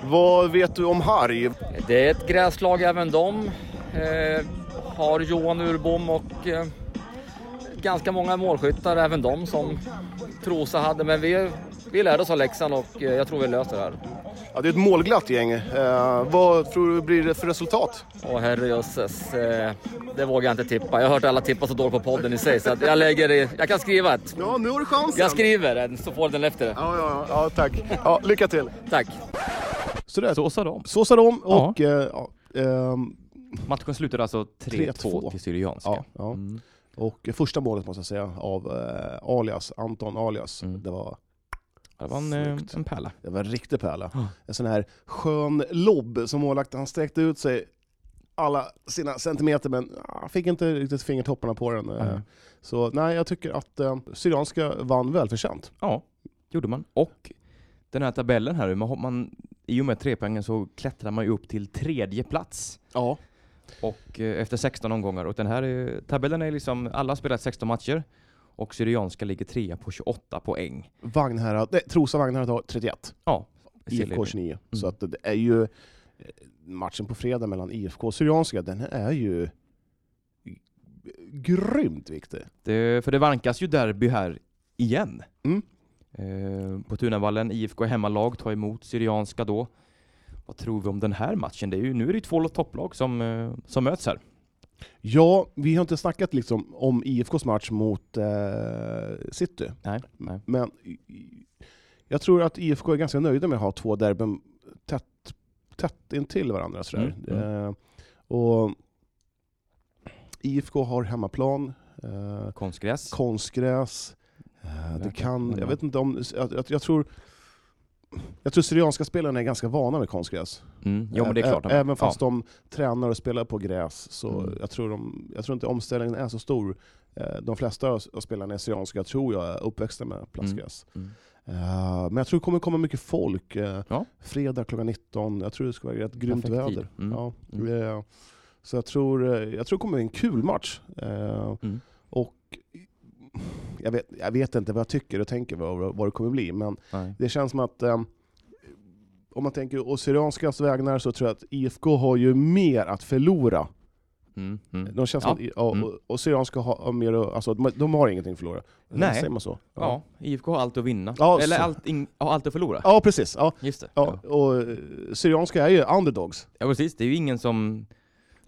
Vad vet du om Harry? Det är ett gräslag även de. Eh, har Johan Urbom och eh, ganska många målskyttar även de som Trosa hade. Men vi, vi lärde oss av läxan och eh, jag tror vi löser det här. Ja, det är ett målglatt gäng. Eh, vad tror du blir det för resultat? Åh herrejösses, eh, det vågar jag inte tippa. Jag har hört alla tippa så dåligt på podden i sig så att jag lägger i, Jag kan skriva ett. Ja, nu har du chansen! Jag skriver en så får den efter det. Ja, ja, ja, tack. Ja, lycka till! Tack. Sådär. Så sa de. Så sa de Ja. och eh, ja. ehm, Matchen slutade alltså 3-2 3-2. till Mm. Syrianska. ja, ja. Och första målet måste jag säga av eh, Alias, Anton Alias, Mm. det, var, Det var en, eh, Snyggt. en pärla. det var en riktig pärla. En sån här skön lobb som målvakten, han sträckte ut sig alla sina centimeter men ah, fick inte riktigt fingertopparna på den. eh. Nej. Så nej, jag tycker att eh, Syrianska vann välförtjänt. Ja, gjorde man. Och den här tabellen här, man, har- man, i och med trepoängen så klättrar man ju upp till tredje plats. Ja. Och eh, efter 16 omgångar. Och den här eh, tabellen är liksom, alla har spelat 16 matcher. och Syrianska ligger trea på 28 poäng. Vagnhärad, nej, Trosa Vagnhärad har 31, Ja, IFK Silly. 29. Mm. Så att det är ju eh, matchen på fredag mellan IFK och Syrianska, den är ju grymt viktig. Det, Eh, för det vankas ju derby här igen. Mm. Eh, på Tunavallen, IFK är hemmalag, tar emot Syrianska då. Vad tror vi om den här matchen? Det är ju, nu är det ju två topplag som, eh, som möts här. Ja, vi har inte snackat liksom om IFKs match mot eh, City, Nej, nej. men i- i- jag tror att IFK är ganska nöjda med att ha två derbyn tätt, tätt intill varandra. Sådär. Mm, Eh, och IFK har hemmaplan, eh, Konstgräs. konstgräs. Eh, det Verkar- kan, jag ja. vet inte om... Jag, jag, jag tror... Jag tror Syrianska spelarna är ganska vana med konstgräs. Mm, jo, men det är Ä- klart. de- Även fast ja. de tränar och spelar på gräs så Mm. jag, tror de, jag tror inte omställningen är så stor. Eh, De flesta av av spelarna i Syrianska tror jag är uppväxta med plastgräs. Mm, Eh, Men jag tror det kommer komma mycket folk. eh, Ja. Fredag klockan 19. Jag tror det ska vara rätt grymt Perfekt tid. väder. Mm. Ja. Mm. Eh, Så jag tror, eh, jag tror det kommer bli en kul match. Eh, Mm. Och jag vet, jag vet inte vad jag tycker och tänker vad, vad det kommer bli, men nej. det känns som att eh, om man tänker å Syrianskas vägnar så tror jag att IFK har ju mer att förlora. Mm, mm. De känns Ja. som att, ja, Mm. och, och Syrianska har har mer, att- alltså, de, de har ingenting att förlora. Nej. Säger man så? Ja, IFK har allt att vinna. Ja, Eller så- allt, in, ja, allt att förlora. Ja, precis. Ja, Just det. Ja. ja. Och eh, Syrianska är ju underdogs. ja, precis. Det är ju ingen som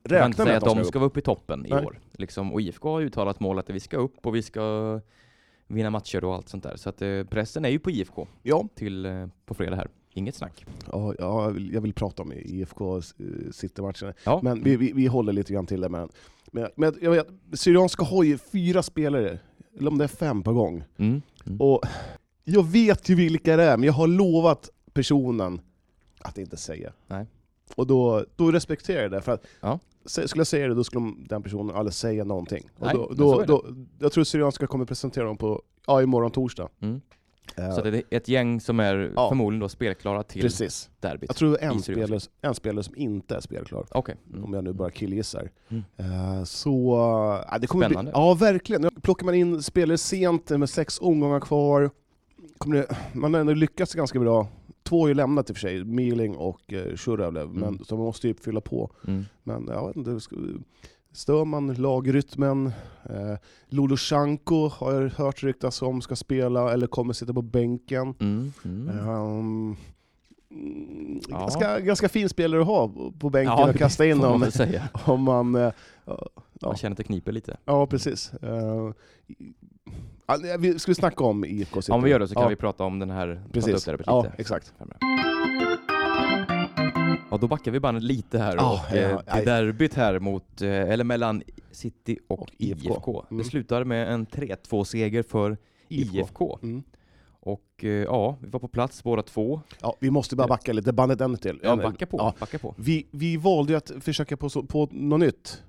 Jag kan inte Räkna med säga att att de ska vara uppe i toppen i Nej. år. Liksom, och IFK har uttalat mål att vi ska upp och vi ska vinna matcher och allt sånt där. Så att eh, pressen är ju på IFK Ja. till, eh, på fredag här. Inget snack. Ja, ja, jag vill- jag vill prata om IFK eh, City-matchen. Ja. Men vi, vi, vi håller lite grann till det. Men, men, men jag vet, Syrianska har ju fyra spelare, eller om det är fem på gång. Mm. Mm. Och jag vet ju vilka det är, men jag har lovat personen att inte säga. Nej. Och då, då respekterar jag det. För att, Ja. sä- Skulle jag säga det, då skulle de- den personen aldrig säga någonting. Och Nej, då, men så då, är då, jag tror Syrianska kommer presentera dem på, ja, imorgon torsdag. Mm. Eh, Så det är ett gäng som är Ja. förmodligen då spelklara till precis. derbyt. Jag tror det är I en Syrianska. spelare, en spelare som inte är spelklar. Okej. Om Mm. jag nu bara killgissar. Mm. Eh, Så, ja, det kommer Spännande. Bli, ja, verkligen. Nu Plockar man in spelare sent eh, med sex omgångar kvar, kommer det, man har ändå lyckats ganska bra. Två har ju lämnat i och för sig, Miling och eh, Shurevlev, men så man måste ju fylla på. Mm. Men jag vet inte, ska- stör man lagrytmen? Eh, Lodosjanko har jag hört ryktas om ska spela eller kommer sitta på bänken. Mm. Mm. Ehm, mm, Ja. ganska, ganska fin spelare att ha på bänken Ja, och kasta *laughs* in Får man om, väl *laughs* säga. om man... eh, Man känner att det kniper lite. Ja, precis. Eh, i- ja, nej, vi- Ska vi snacka om IFK City? Om vi gör det så kan ja, vi prata om den här prata upp Precis. derbyt Ja, lite. exakt. Ja, då backar vi bandet lite här Ah, Ja, och ja, eh, ja. till derbyt här mot, eh, eller mellan City och, Och IFK. IFK. Mm. Det slutar med en 3-2-seger för IFK. Mm. Och eh, ja, vi var på plats båda två. Ja, vi måste bara backa lite, bandet ännu till. Ja, backa på, Ja. backa på. Vi, vi valde ju att försöka på, så- på något nytt.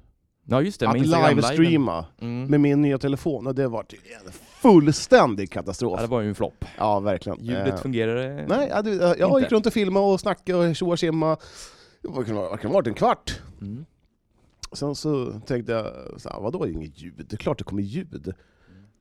Ja just det, Att med Instagram-liven. livestreama Mm. med min nya telefon, och det var en fullständig katastrof. Ja, det var ju en flopp. Ja, verkligen. Ljudet Eh, fungerade... Nej, ja, du, eh, jag Inte. gick runt och filmade och snackade och tjoa och tjimma. Det var- kan ha det kan ha varit en kvart. Mm. Sen så tänkte jag, så här, vadå inget ljud? Det är klart det kommer ljud.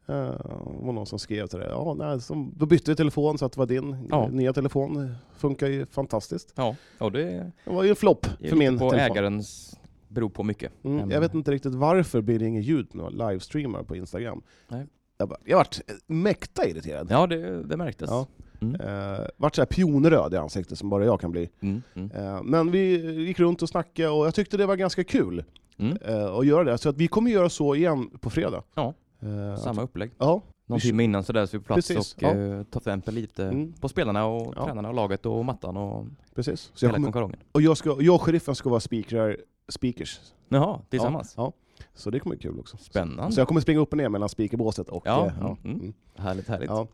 Eh, Mm. Det var någon som skrev till det. Ja, nej, så, då bytte vi telefon så att det var din Ja. nya telefon. Funkar ju fantastiskt. Ja, ja det Det var ju en flopp är för min på telefon. ägarens... Beror på mycket. Mm, jag Men- vet inte riktigt varför blir det inget ljud när jag livestreamar på Instagram. Nej. Jag, bara, jag vart mäkta irriterad. Ja, det, det märktes. Ja. Mm. Eh, vart så här pionröd i ansiktet som bara jag kan bli. Mm. Mm. Eh, Men vi gick runt och snackade och jag tyckte det var ganska kul Mm. eh, att göra det. Så att vi kommer göra så igen på fredag. Ja. Eh, Samma upplägg. Ja, Någon Vi kö- timme innan sådär så är vi på plats Precis, och ja. eh, tar tempen lite Mm. på spelarna och Ja. tränarna och laget och mattan och precis. Så jag hela kommer, konkarongen. och jag, ska, jag och sheriffen ska vara speakrar, speakers. Jaha, tillsammans. Ja, ja. Så det kommer bli kul också. Spännande. Så jag kommer springa upp och ner mellan speakerbåset och... Ja, eh, mm, mm. Härligt, härligt. ja.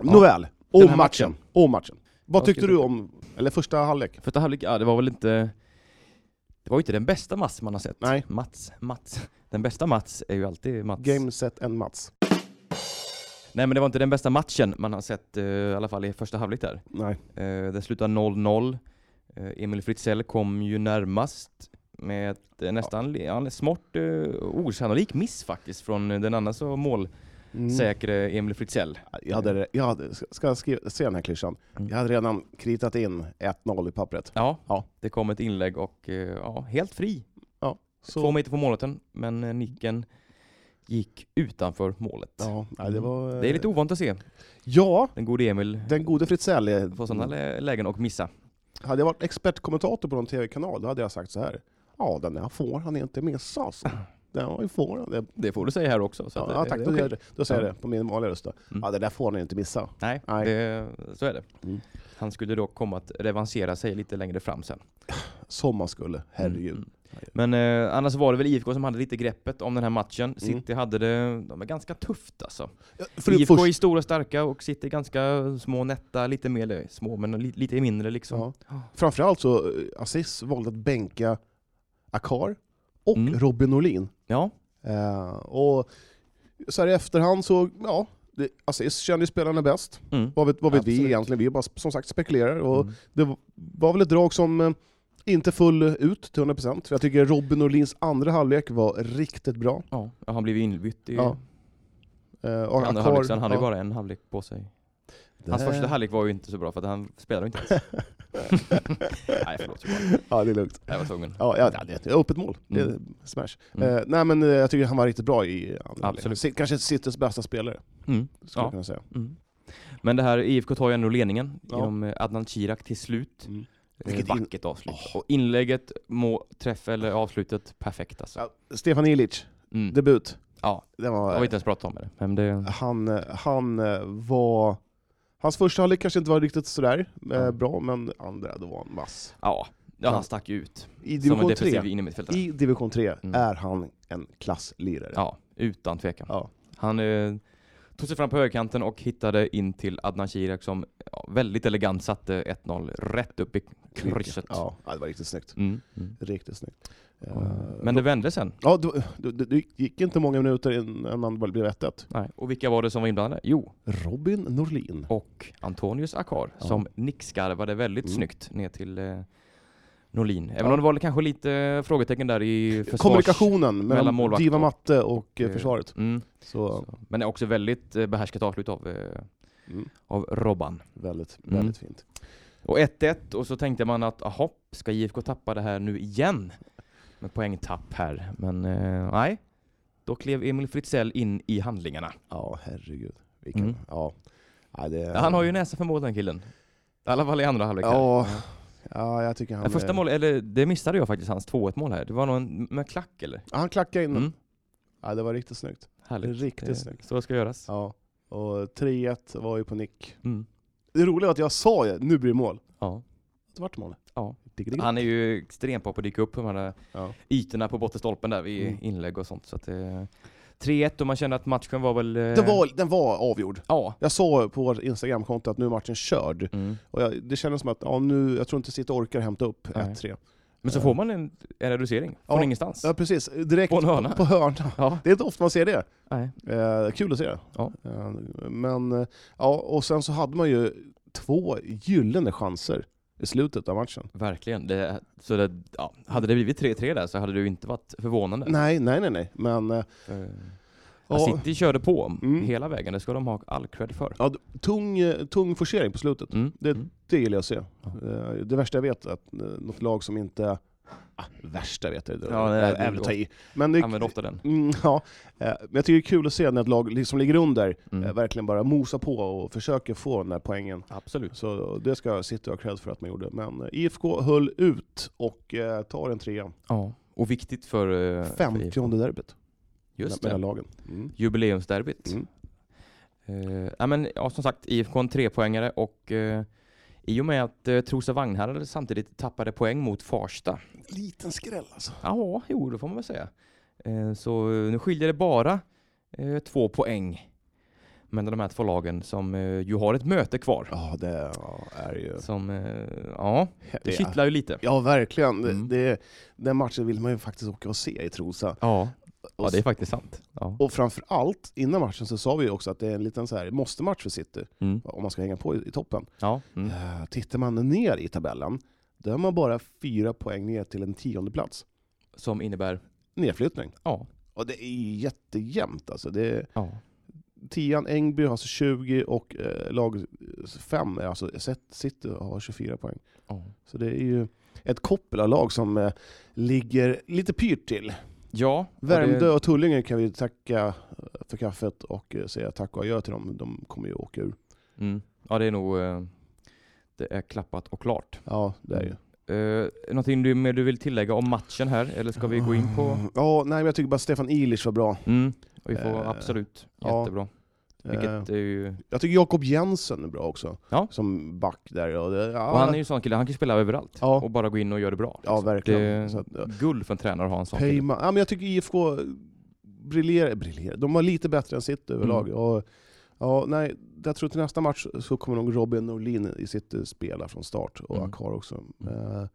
Nåväl, om här matchen. matchen. Om matchen. Vad Vad tyckte ska vi du om, eller första halvlek? Första halvlek, ja det var väl inte... Det var ju inte den bästa Mats man har sett. Nej. Mats, Mats. Den bästa Mats är ju alltid Mats. Game, set and Mats. Nej men det var inte den bästa matchen man har sett, eh, i alla fall i första halvlek där. Nej. Eh, det slutade 0-0. Eh, Emil Fritzell kom ju närmast med ett eh, nästan ja. en smart eh, osannolik miss faktiskt från eh, den andra så mål säkre Emil Fritzell. Mm. Jag hade, jag hade, ska jag skriva, se den här klyschan? Mm. Jag hade redan kritat in 1-0 i pappret. Ja, Ja. det kom ett inlägg och eh, ja, helt fri. Ja, Två så, meter på målåten, men eh, nicken gick utanför målet. ja, nej, det, var, eh, Mm. Det är lite ovant att se ja, den gode Emil den gode Fritzell. är- få sådana lä- lägen och missa. Hade jag varit expertkommentator på någon tv-kanal, då hade jag sagt så här. Ja, den här får han inte missa alltså. Den här får han. Det, Det får du säga här också. Så ja, att det- ja, tack, det är då, okej. Mm. gör jag det. då säger jag det på min vanliga röst. Då. Ja, det där får han inte missa. Nej, Nej. Det, så är det. Mm. Han skulle då komma att revansera sig lite längre fram sen. Som man skulle, herregud. Mm. Men eh, annars var det väl IFK som hade lite greppet om den här matchen. City hade det, de är ganska tufft alltså. Ja, Mm. för det IFK först- är stora starka och City ganska små nätta, lite mer eller små men li, lite mindre liksom. Ja. Framförallt så, eh, Aziz valde att bänka Akar och Mm. Robin Norlin. Ja, Eh, och så här i efterhand så, ja, det, Aziz kände ju spelarna bäst. mm. Vad vet, vad vet vi Absolut. egentligen? Vi bara som sagt spekulerar. Och Mm. Det v- var väl ett drag som eh, inte full ut till 100%. För jag tycker Robin Norlins andra halvlek var riktigt bra. ja. ja han blev ju inbytt i Ja. Eh, och andra Akar- halvlek så han hade ju ja. bara en halvlek på sig. Hans Det- första halvlek var ju inte så bra för att han spelade ju inte *laughs* ens. Nej förlåt Johan, Ja, det är lugnt. jag var tvungen. Ja, ja, det- det är öppet mål. Det är Mm. smash. Mm. Eh, nej, men eh, jag tycker han var riktigt bra i andra Absolut. halvlek. Si- Kanske Citys bästa spelare, Mm. skulle Ja. jag kunna säga. Mm. Men det här IFK tar ju ändå ledningen Ja. genom eh, Adnan Kirak till slut. Mm. Vilket Vilket in- vackert avslut. Och inlägget, må, träff eller avslutet, perfekt alltså. Ja, Stefan Ilic, Mm. debut. Ja. Den Jag var, har inte ens pratat om det. Men det han, eh, han eh, var... Hans första halvlek kanske inte var riktigt sådär eh, Ja. bra, men andra, då var han mass. ja. ja, han stack ju ut. I Som en division 3, defensiv innermittfältare. i division 3 Mm. är han en klasslirare. Ja, utan tvekan. Ja. Han eh, tog sig fram på högerkanten och hittade in till Adnan Kirak som ja, väldigt elegant satte 1-0 rätt upp i krysset. Ja, ja, det var riktigt snyggt. Mm. Mm. Riktigt snyggt. Eh, Men det vände sen. Ja, det, det, det gick inte många minuter innan man blev 1-1. Nej. Och vilka var det som var inblandade? Jo, Robin Norlin. och Antonius Akar Ja. som nickskarvade väldigt Mm. snyggt ner till eh, Norlin. Även Ja. om det var kanske lite eh, frågetecken där i försvars... Kommunikationen mellan mellan, målvakt Diva och- Matte och eh, eh, försvaret. Mm. Så, Så. Men det är också väldigt eh, behärskat avslut av, eh, Mm. av Robban. väldigt, Mm. väldigt fint. Och 1-1 och så tänkte man att aha, ska IFK tappa det här nu igen? Med poängtapp här. Men eh, nej, då klev Emil Fritzell in i handlingarna. Ja, herregud. Vilken, Mm. ja. Ja, det, Han har ju näsa för mål den killen. I alla fall i andra halvlek. här. Ja, ja, jag tycker han... eh, Det första är- målet, eller det missade jag faktiskt, hans 2-1 mål här. Det var någon med klack eller? Ja, han klackade in den. Mm. Ja, det var riktigt snyggt. Härligt. Riktigt Det- snyggt. Så ska göras. Ja. Och 3-1 var ju på nick. Mm. Det roliga var att jag sa ju, nu blir det mål. Ja. Det vart mål. Ja. Digg, digg, digg. Han är ju extremt bra på att dyka upp på de här Ja. ytorna på bottenstolpen där vid Mm. inlägg och sånt. Så att, eh, 3-1 och man kände att matchen var väl... eh, Den, var, den var avgjord. Ja. Jag sa på vårt Instagramkonto att nu är matchen körd. Mm. Och jag, det kändes som att ja, nu, jag tror inte City orkar hämta upp Nej. 1-3. Men så Ja. får man en, en reducering från Eh. Ja. ingenstans. Ja precis, direkt På en hörna. På hörna. Ja. Det är inte ofta man ser det. Nej. Eh, kul att se det. Ja. Eh, men eh, ja, och sen så hade man ju två gyllene chanser i slutet av matchen. Verkligen. Det, så det, ja. Hade det blivit 3-3 där så hade det ju inte varit förvånande. Nej, nej, nej, nej. Men eh, För, ja, City körde på Mm. hela vägen, det ska de ha all cred för. ja, d- tung, eh, tung forcering på slutet. Mm. Mm. Det gillar jag att se. Ja. Eh, det värsta jag vet är att eh, något lag som inte... Ah, värsta vet jag inte. Ja, det är- Även att ta i. Men det, Använder ofta den. Mm, ja, eh, men jag tycker det är kul att se när ett lag liksom ligger under, Mm. eh, verkligen bara mosar på och försöker få den där poängen. Absolut. Så det ska City ha cred för att man gjorde. Men eh, IFK höll ut och eh, tar en trea. Ja, och viktigt för... eh, för IFK. 50 derbyt Just mellan det, lagen. Mm. jubileumsderbyt. Mm. Eh, ja, men, ja, som sagt, IFK en trepoängare och eh, i och med att eh, Trosa Vagnhärad samtidigt tappade poäng mot Farsta. Liten skräll alltså. Ja, jo, det får man väl säga. Eh, så eh, nu skiljer det bara eh, två poäng mellan de här två lagen som eh, ju har ett möte kvar. Ja, det ja, är ju... Som, eh, ja, det är- kittlar ju lite. Ja, verkligen. Det- Mm. Det, den matchen vill man ju faktiskt åka och se i Trosa. Ja, Och, ja det är faktiskt sant. Ja. och framför allt, innan matchen så sa vi ju också att det är en liten så här måste-match för City, Mm. om man ska hänga på i, i toppen. Ja, mm. Eh, Tittar man ner i tabellen, då är man bara fyra poäng ner till en tionde plats. Som innebär, Nedflyttning. ja, Och det är ju jättejämnt alltså. Det, ja. tian Engby har alltså 20 och eh, lag 5 är alltså Set- City har 24 poäng. Ja. Så det är ju ett koppel av lag som eh, ligger lite pyrt till. Ja, och det- Värmdö och Tullinge kan vi tacka eh, för kaffet och eh, säga tack och adjö till dem. De kommer ju åka ur. Mm. Ja, det är nog... eh, Det är klappat och klart. Ja, det är ju. Uh, någonting du, mer du vill tillägga om matchen här, eller ska vi gå in på... Mm. Ja, nej men jag tycker bara Stefan Ilic var bra. Mm, och vi får Eh, absolut, ja. jättebra. Eh, Vilket är ju... jag tycker Jakob Jensen är bra också. Ja. Som back där. Och, det, ja, Och han är ju en sån kille, han kan ju spela överallt Ja. och bara gå in och göra det bra. ja, verkligen. det- Så att, eh, ja. Guld för en tränare att ha en sån kille. Peyman. Ja, men jag tycker IFK briljerar, briljerar. De var lite bättre än sitt Mm. överlag. Och, ja, nej, jag tror till nästa match så kommer nog Robin Norlin i sitt eh, spela från start och Mm. Akar också. Mm. Eh,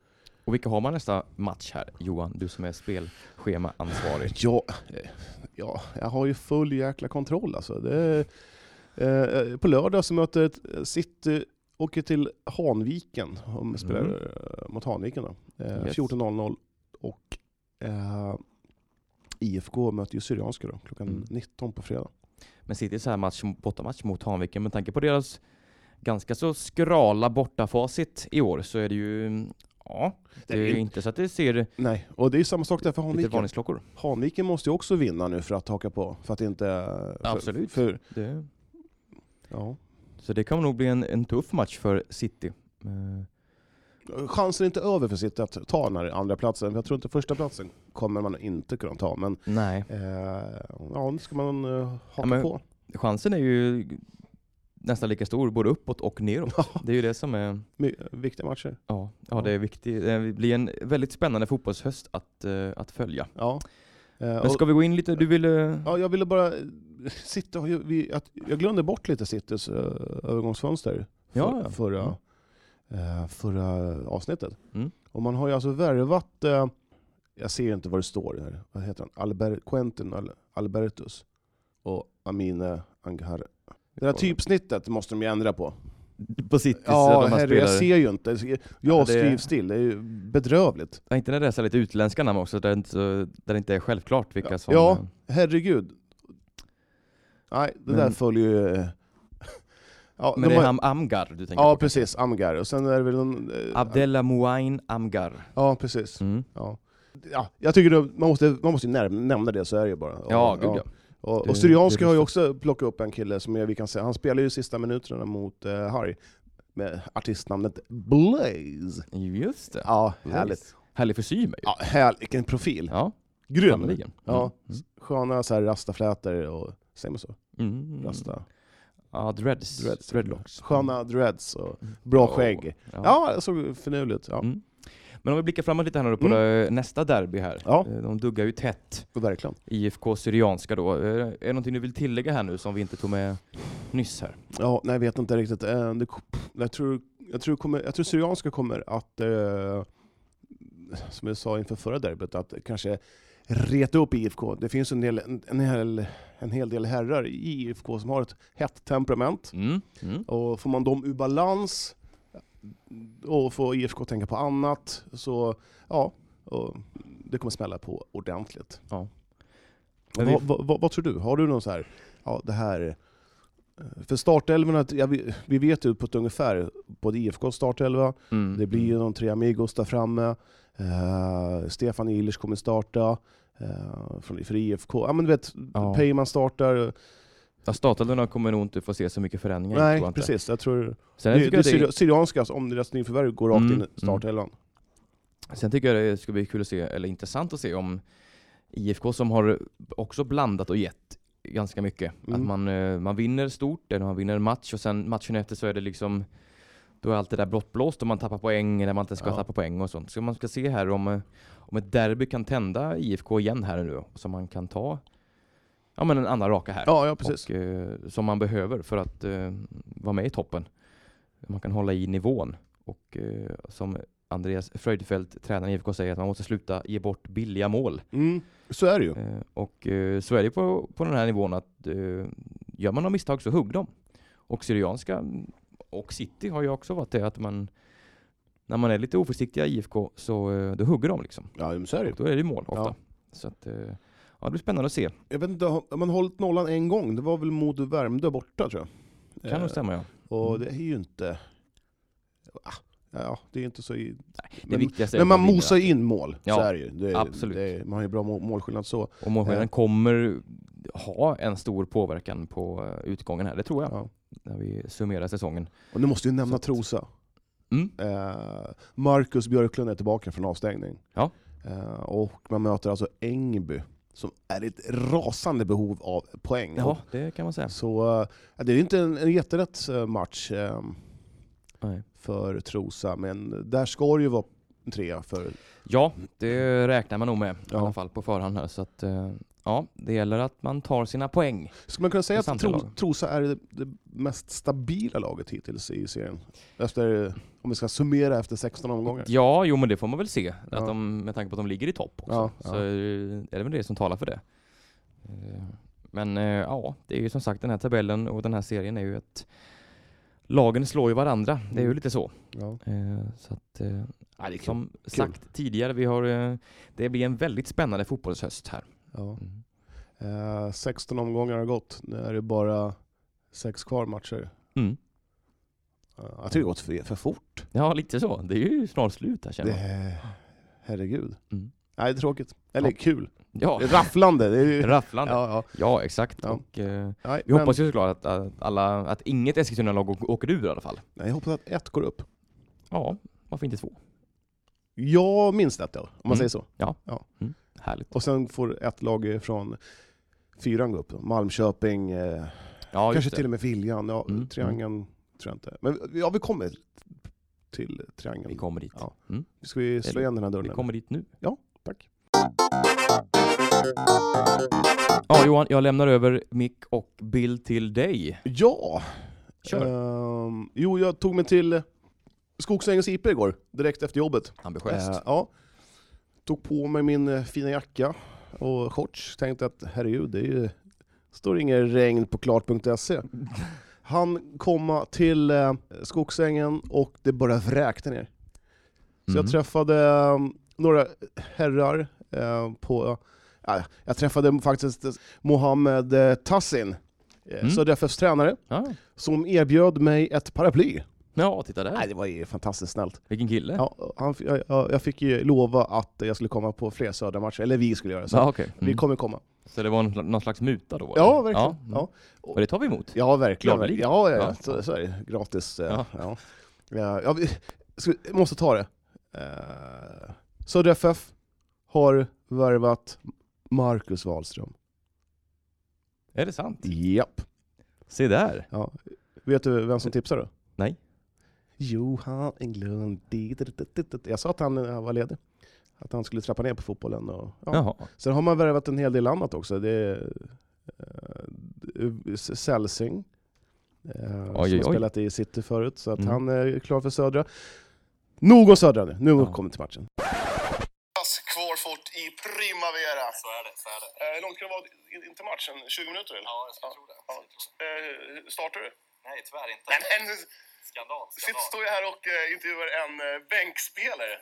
Och vilka har man nästa match här, Johan? Du som är spelschemaansvarig. Ja, eh, ja, jag har ju full jäkla kontroll alltså. Det, är- eh, på lördag så möter ett eh, City, åker till Hanviken, om spelar Mm. eh, mot Hanviken då. Eh, Yes. 14.00 och eh, IFK möter ju Syrianska då, klockan Mm. 19 på fredag. Men City så här match, bortamatch mot Hanviken, med tanke på deras ganska så skrala bortafacit i år så är det ju... mm, Ja, det är ju inte så att det ser Nej, och det är samma sak där för lite Hanviken. varningsklockor. Hanviken måste ju också vinna nu för att haka på, för att inte... För, Absolut. För, Det... ja. Så det kan nog bli en, en tuff match för City. Eh, Chansen är inte över för City att ta den här andra platsen. Jag tror inte första platsen kommer man inte kunna ta, men nej, Eh, ja, nu ska man eh, haka Ja, men- på. chansen är ju nästan lika stor både uppåt och neråt. Det är ju det som är... My- Viktiga matcher. Ja, ja det är viktigt. Det blir en väldigt spännande fotbollshöst att, eh, att följa. Ja. Eh, Men och, ska vi gå in lite? Du ville... ja, jag ville bara... City har ju, vi, att, jag glömde bort lite Citys eh, övergångsfönster för, Ja, ja. förra, eh, förra avsnittet. Mm. Och man har ju alltså värvat... Eh, jag ser inte vad det står här. Vad heter han? Albert, Quentin Al, Albertus och Amine Anghar. Det här typsnittet måste de ju ändra på. På City, Ja, de här herre, jag spelare. ser ju inte. Ja, det- Jag skrivs till. Det är ju bedrövligt. Ja, Inte när det är så här lite utländska namn också, där det inte, där det inte är självklart vilka Ja. som... Ja. eh, Herregud. Nej, det där Men- följer ju... *laughs* eh, Ja, Men de det är har- Ham Amgar du tänker ja på? precis. Amgar. Och sen är det väl någon... eh, Abdella Muain Amgar. Ja, precis. Mm. Ja. Ja, jag tycker det, man måste, man måste ju näm- nämna det, så är det ju bara. Och, Ja, gud ja. Och, Det- och Syrianska det är har ju också plockat upp en kille som jag, vi kan säga, han spelar ju sista minuterna mot eh, Harry med artistnamnet Blaze. Just det. Ja, härligt. Härlig frisyr med ju. Ja, här, vilken profil. Ja, Grym. sannerligen. Mm. Ja, sköna så här rastaflätor och, säger man så? Mm. Mm. Rasta. Ja, dreads. Dreads. Mm. Dreadlocks. Mm. Sköna dreads och bra Ja. skägg. Ja. Ja, det såg finurligt ut. Ja, Mm. Men om vi blickar framåt lite här nu då på eh, nästa derby här. Mm. Ja. Eh, De duggar ju tätt, verkligen. IFK Syrianska då. Eh, Är det någonting du vill tillägga här nu som vi inte tog med nyss här? Ja, nej, jag vet inte riktigt. Eh, Det, jag, tror, jag, tror kommer, jag tror Syrianska kommer att, eh, som jag sa inför förra derbyt, att kanske reta upp IFK. Det finns en, del, en, en, hel, en hel del herrar i IFK som har ett hett temperament. Mm. Mm. Och får man dem ur balans och får IFK tänka på annat så ja, och det kommer smälla på ordentligt. Ja. Men vi- vad, vad, vad, vad tror du? Har du någon så här, ja det här, eh, för startelvorna, ja, vi, vi vet ju på ett ungefär, både IFKs startelva, Mm. det blir ju de tre Amigos där framme, eh, Stefan Ilers kommer starta, eh, från, för IFK, ja men du vet, Ja. Peyman startar, Ja, Statelöna kommer nog inte få se så mycket förändringar. tror jag nej inte. precis, jag tror Sen, det, tycker det jag det, syri- Syrianska, alltså, om deras nyförvärv går rakt Mm, in i startelvan. sen tycker jag det skulle bli kul att se, eller intressant att se om IFK som har också blandat och gett ganska mycket. Att Mm. man, eh, man vinner stort, eller man vinner en match och sen matchen efter så är det liksom då är allt det där blottblåst och man tappar poäng eller man inte ska Ja. tappa poäng och sånt. Så man ska se här om, eh, om ett derby kan tända IFK igen här nu så man kan ta ja, men en annan raka här. Ja, ja precis. Och, eh, som man behöver för att eh, vara med i toppen. Man kan hålla i nivån. Och eh, som Andreas Fröjdfeldt, tränaren i IFK, säger att man måste sluta ge bort billiga mål. Mm, så är det ju. Eh, och eh, så är det på, på den här nivån att eh, gör man några misstag så hugg dem. Och Syrianska och City har ju också varit det att man när man är lite oförsiktiga i IFK så eh, då hugger de liksom. Ja, men så är det ju. Då är det ju mål ofta. Ja. Så att, eh, ja, det blir spännande att se. Jag vet inte, har man hållit nollan en gång? Det var väl mot Värmdö borta tror jag. Kan nog Eh, stämma Mm. ja. Och det är ju inte... Ah, Ja, det är inte så... i- Det men- viktigaste är Men att man vinner. mosar ju in mål, så Ja, är det ju. Det, absolut. Det, är- man har ju bra må- målskillnad så. Och målskillnaden kommer ha en stor påverkan på eh, utgången här, det tror jag. Ja. När vi summerar säsongen. Och nu måste vi nämna Så att- Trosa. Mm. Eh, Marcus Björklund är tillbaka från avstängning. Ja. Eh, och man möter alltså Ängby, som är i ett rasande behov av poäng. Ja, det kan man säga. Så eh, det är ju inte en, en jätterätt eh, match eh, Nej. för Trosa, men där ska det ju vara en trea för... Ja, det räknar man nog med i Ja. alla fall på förhand här. Så att, eh, ja, det gäller att man tar sina poäng. Skulle man kunna säga För att samtliga Tro, lag. Trosa är det, det mest stabila laget hittills i serien? Efter, om vi ska summera efter 16 omgångar. Ja, jo men det får man väl se. Ja. Att de, med tanke på att de ligger i topp också. Ja, Så eh, ja. är det väl det som talar för det. Eh, Men eh, ja, det är ju som sagt den här tabellen och den här serien är ju ett Lagen slår ju varandra, det är ju Mm. lite så. Ja. Eh, Så att, eh, Ja, det är kul. som sagt tidigare, vi har, eh, det blir en väldigt spännande fotbollshöst här. Ja. Mm. Eh, 16 omgångar har gått, nu är det bara sex kvar matcher. Mm. Eh, jag tycker det har gått för, för fort. Ja, lite så. Det är ju snart slut här känner man. Det, herregud. Mm. Nej, det är tråkigt. Eller Ja. kul. Ja, Det är rafflande. Det är ju... *laughs* rafflande. Ja, Ja, ja. exakt. Ja. Och, eh, Nej, vi men- hoppas ju såklart att, att, alla, att inget Eskilstuna-lag å- åker ur i alla fall. Nej, jag hoppas att ett går upp. Ja, varför inte två? Jag minns ett då, om man Mm. säger så. Härligt. Och sen får ett lag från fyran gå upp. Då. Malmköping, eh, Ja, kanske just till det. och med Viljan. Ja, Mm, Triangeln tror jag inte. Men ja, vi kommer till Triangeln. Vi kommer dit. Ja. Mm. Ska vi slå Eller- igen den här Vi dörren? kommer dit nu. Ja, tack. Ja, Johan, jag lämnar över mick och bild till dig. Ja! Kör. Ehm, jo, jag tog mig till Skogsängens IP igår, direkt efter jobbet. Ambitiöst. Eh, ja. Tog på mig min eh, fina jacka och shorts. Tänkte att herregud, det är ju, står inget regn *laughs* på klart.se. E. Han komma till eh, Skogsängen och det bara vräkte ner. Så jag Mm. träffade eh, några herrar eh, på... ja, jag träffade faktiskt eh, Mohammed eh, Tassin, eh, Mm. Södra FFs tränare, Ja. som erbjöd mig ett paraply. ja, titta där. Nej, det var ju fantastiskt snällt. Vilken kille. Ja, han, jag, jag jag fick ju lova att jag skulle komma på fler södra matcher, eller vi skulle göra så. Ja, okej. mm. Vi kommer komma. Så det var en, någon slags muta då? eller? Ja, verkligen. mm. Ja, Och det tar vi emot. ja verkligen. Gladeligen. Ja, ja, ja. Ja. Så, så är det. Gratis. eh, Ja. Ja. Ja. Ja, vi ska, vi måste ta det. Eh, Södra FF har värvat Marcus Wahlström. Är det sant? Japp. Se där. Ja. Vet du vem som tipsar då? Nej. Johan Englund. Jag sa att han eh, var ledig. Att han skulle trappa ner på fotbollen. Och, ja. Eh, Jaha. Sen har man värvat en hel del annat också. Det är eh, Selsing, eh, som oj, har oj. spelat i City förut, så att Mm. han är klar för Södra. Nog om Södra nu, nu Ja. kommer vi till matchen. Kvarfort i Primavera. Så är det. Så är det. Hur långt kan det vara till matchen? 20 minuter? Eller? Ja, jag skulle tro det. startar du? Nej, tyvärr inte. Men, en, Skandal, sitter, står jag här och eh, intervjuar en eh, bänkspelare.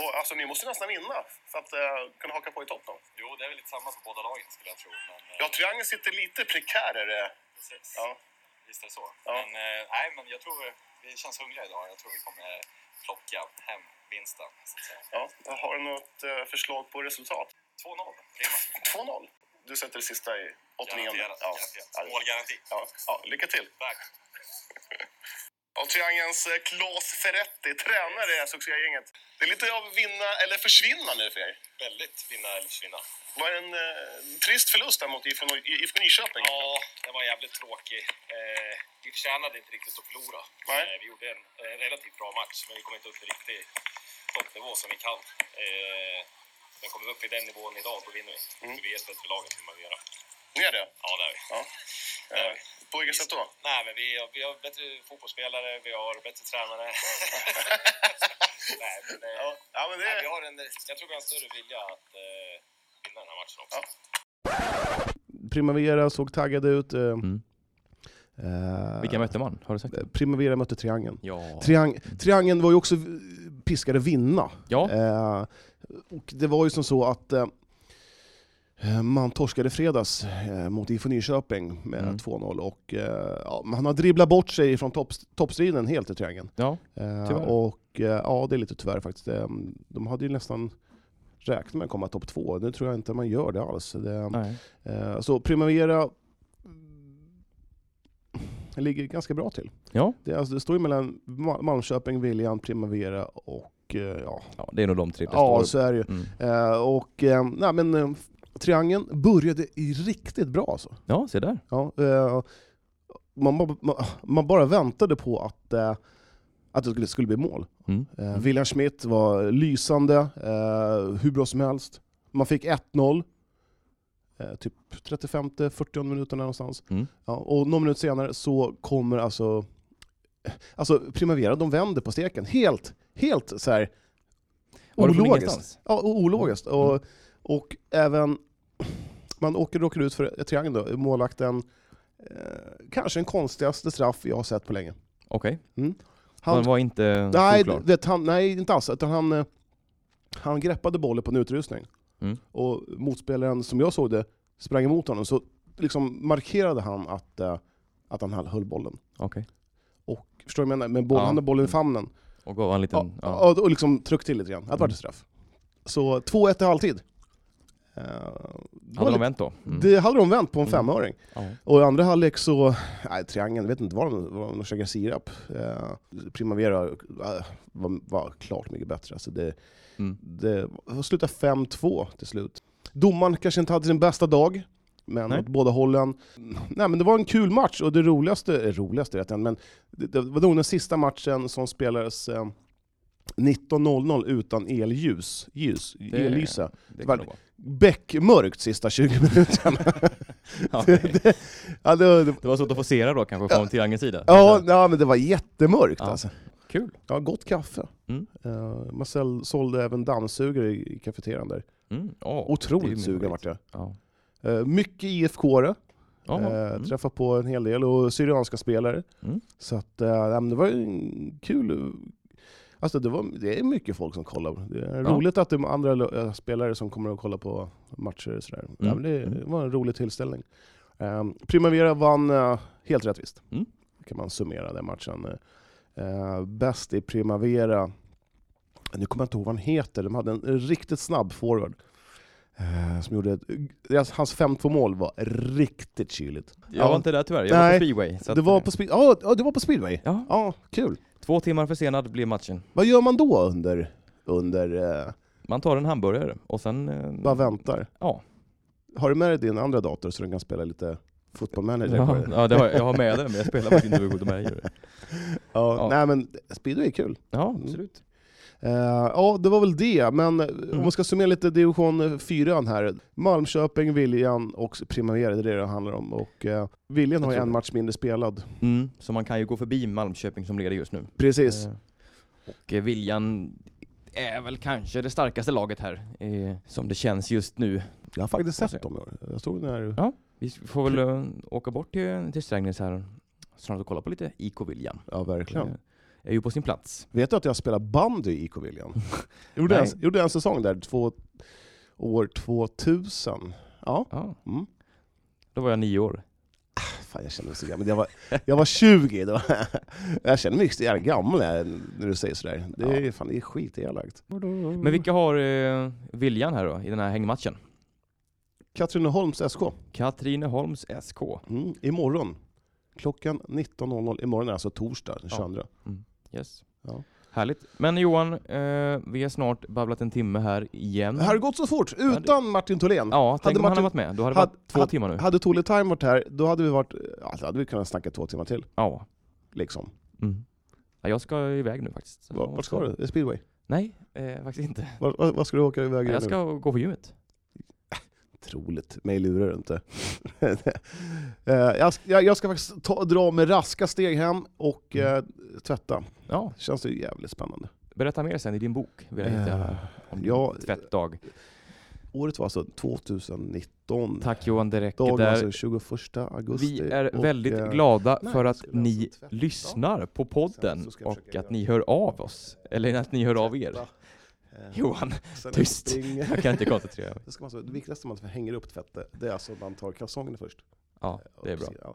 Vad- Alltså, ni måste nästan vinna för att eh, kunna haka på i topp. Då. Jo, det är väl lite samma på båda lagen skulle jag tro. Men, eh, Ja, triangeln sitter lite prekärare. precis. Ja. Visst är det så. Ja. Men, eh, nej, men jag tror vi känns hungriga idag. Jag tror vi kommer plocka hem vinsten. Så att säga. Ja. Har du något eh, förslag på resultat? 2-0, *laughs* prima. 2-0. Du sätter det sista i 89. Garanterat. Ja. garanterat. Målgaranti. Ja. Ja. Lycka till. *laughs* Tack. Av triangelns eh, Claes Ferretti, tränare i det här succégänget. Det är lite av vinna eller försvinna nu för er. Väldigt vinna eller försvinna. Var det en eh, trist förlust där mot IFK Ny- IFK Nyköping? Ja, det var jävligt tråkigt. Eh, vi förtjänade inte riktigt att förlora. Nej. Eh, vi gjorde en, en relativt bra match, men vi kom inte upp till riktig toppnivå som vi kan. Eh, men kommer vi upp i den nivån idag, då vinner vi. För vi är ett bättre lag än vad man vill göra. Mm. Ni är det? Ja, det är vi. Ja. Eh, på vilket sätt då? Nej, men vi har, vi har bättre fotbollsspelare, vi har bättre *laughs* tränare. nej, men, eh, Ja. Ja, men nej, vi det... har en, jag tror vi har en större vilja att eh, vinna den här matchen också. Ja. Primavera såg taggade ut. Eh, Mm. eh, Vilka mötte man? Har du sagt det? Primavera mötte Triangeln. Ja. Triang triangeln var ju också eh, piskade vinna. Ja. Eh, och det var ju som så att eh, Eh, Man torskade fredags eh, mot IFK Nyköping med Mm. 2-0 och eh, ja, man har dribblat bort sig från topps- toppstriden helt i triangeln. Ja, Eh, Tyvärr. Och eh, ja, det är lite tyvärr faktiskt. Eh, De hade ju nästan räknat med att komma topp två. Nu tror jag inte man gör det alls. Det, nej. eh, så Primavera mm, ligger ganska bra till. Ja. Det, är alltså, det står ju mellan Ma- Malmköping, Viljan, Primavera och eh, ja, ja, det är nog de tre det ja står. så är det ju. Mm. Eh, Och, eh, nej, men, eh, triangeln började i riktigt bra alltså. Ja, se där. Ja, eh, man, ba- man, man bara väntade på att, eh, att det skulle, skulle bli mål. Mm. Eh, William Schmidt var lysande, eh, hur bra som helst. Man fick 1-0, eh, typ 35-40 minuterna någonstans. Mm. Ja, och någon minut senare så kommer alltså, alltså Primavera, de vänder på steken helt, helt så här Var det från ologiskt. ingenstans? Ja, och ologiskt. Mm. Och, och även, *clears throat* man åker, råkar ut för ett triangel då, målvakten, eh, kanske den konstigaste straff jag har sett på länge. Okej, Han, den var inte nej, solklar. vet, han, nej, inte alls, utan han, eh, han greppade bollen på en utrustning. Mm. Och motspelaren, som jag såg det, sprang emot honom, så liksom markerade han att, eh, att han höll- höll bollen. Okej. Förstår du vad jag menar? Men bollen, Ja. han hade bollen i famnen. Och gav han en Ja, liten... Ja. Och, och liksom tryck till lite grann. Att det vart Mm. ett straff. Så 2-1 i halvtid. Eh, det, var Hade de lite, vänt då? Mm. det hade de vänt på en Mm. femöring. Ja. Och i andra halvlek så, nej triangeln, vet inte vad de, vad de käkade sirap. Eh, Primavera eh, var, var klart mycket bättre. Alltså det, Mm. det slutade 5-2 till slut. Domaren kanske inte hade sin bästa dag, men Nej. åt båda hållen. Nej, men det var en kul match och det roligaste, eh, roligaste vet jag inte, men det, det var nog den sista matchen som spelades eh, 19.00 utan elljus. Ljus, Det- ellysa. Det var- kan det *laughs* vara. Bäckmörkt sista 20 minuterna. Ja, *laughs* det, det, ja, det, det, Det var svårt att forcera då kanske från triangelns sida? ja, nej, men det var jättemörkt Ja. alltså. Kul. Ja, gott kaffe. Mm. Eh, man säl- sålde även dammsugare i i kafeterian där. Mm. ja, det är ju Otroligt min sugen favorit. vart jag. Ja. Eh, Mycket IFK-are. Ja, Eh, mm. Träffade på en hel del och syrianska spelare. Mm. Så att, eh, nej, men det var ju en kul... Alltså det, var, det är mycket folk som kollar. Det är Ja. roligt att det är andra lo- eh, spelare som kommer och kollar på matcher och sådär. Ja, men det, Mm. var en rolig tillställning. Eh, Primavera vann eh, helt rättvist. Mm. kan man summera den matchen. Eh, bäst i Primavera, nu kommer jag inte ihåg vad han heter, de hade en riktigt snabb forward. Eh, som gjorde ett, deras- hans 5-2 mål var riktigt kyligt. Jag var inte där tyvärr, jag var Nej, på speedway. så det, att- var på speed, ja, ja, det var på speedway? Ja, Ja, kul. två timmar försenad blev matchen. Vad gör man då under, under eh, Man tar en hamburgare och sen... eh, bara väntar? Ja. Har du med dig din andra dator så du kan spela lite football manager? på Ja, det? ja det har, jag- jag har med den men jag spelar faktiskt inte med goda *laughs* mig. Ja, Ja. Nej men speedway är kul. Ja, absolut. Eh, ja, det var väl det, men Mm. om man ska summera lite division 4 här. Malmköping, Viljan och Primavera, det är det det handlar om. Och, eh, Viljan har ju tror en det. match mindre spelad. Mm. Så man kan ju gå förbi Malmköping som leder just nu. Precis. Eh, Och eh, Viljan är väl kanske det starkaste laget här, eh, som det känns just nu. Jag har faktiskt Får se. sett dem i år. Jag stod när... Ja. Vi får väl eh, åka bort till, till Strängnäs här snart och kolla på lite IK Viljan. Ja, verkligen. Det är ju på sin plats. Vet du att jag spelar bandy i IK Viljan? *laughs* gjorde, en, Nej. gjorde en säsong där, två, år 2000. Ja, Ja. Mm. Då var jag nio år. fan jag känner mig så gammal. Jag var, jag var *laughs* 20 då. jag känner mig så jävla gammal när när du säger sådär. Det är, fan, det är skitelakt. Men vilka har eh, Viljan här då, i den här hängmatchen? Katrineholms SK. Katrineholms SK. Mm, imorgon. Klockan 19.00. Imorgon är alltså torsdag den Ja. 22. Yes. Ja. Härligt. Men Johan, eh, vi har snart babblat en timme här igen. Mm. Det här har gått så fort, utan Martin Tholén. Ja, tänk Hade om han Martin- hade varit med. Då hade det Hade- varit två hade- timmar nu. Hade Tole Time varit här, då hade vi varit, ja, då hade vi kunnat snacka två timmar till. Ja. Liksom. Mm. ja. Jag ska iväg nu faktiskt. Så- Vart, vart ska du? Är det Speedway? Nej, eh, faktiskt inte. Vart, vart vart ska du åka iväg Jag nu? ska gå på gymmet. Otroligt, mig lurar du inte. *laughs* Eh, jag, ska- jag, jag ska faktiskt ta, dra med raska steg hem och Mm. eh, tvätta. Ja, Känns det jävligt spännande. berätta mer sen i din bok. Vill jag hitta om din Eh, ja. eh, tvättdag. Året var alltså 2019. Tack Johan, det räcker Dagen där. alltså 21 augusti. Vi är och, väldigt eh, glada nej, för jag att skulle alltså ni tvätta. lyssnar på podden Sen så ska jag och försöka att göra- ni hör av oss. Eller att ni hör av er. tvätta. *laughs* Johan, Sen Tyst. *laughs* springer- jag kan inte koncentrera mig. Det, ska man, så- det viktigaste man hänger upp tvätt, det är alltså att man tar kalsongerna först. Ja, det är bra. Ja.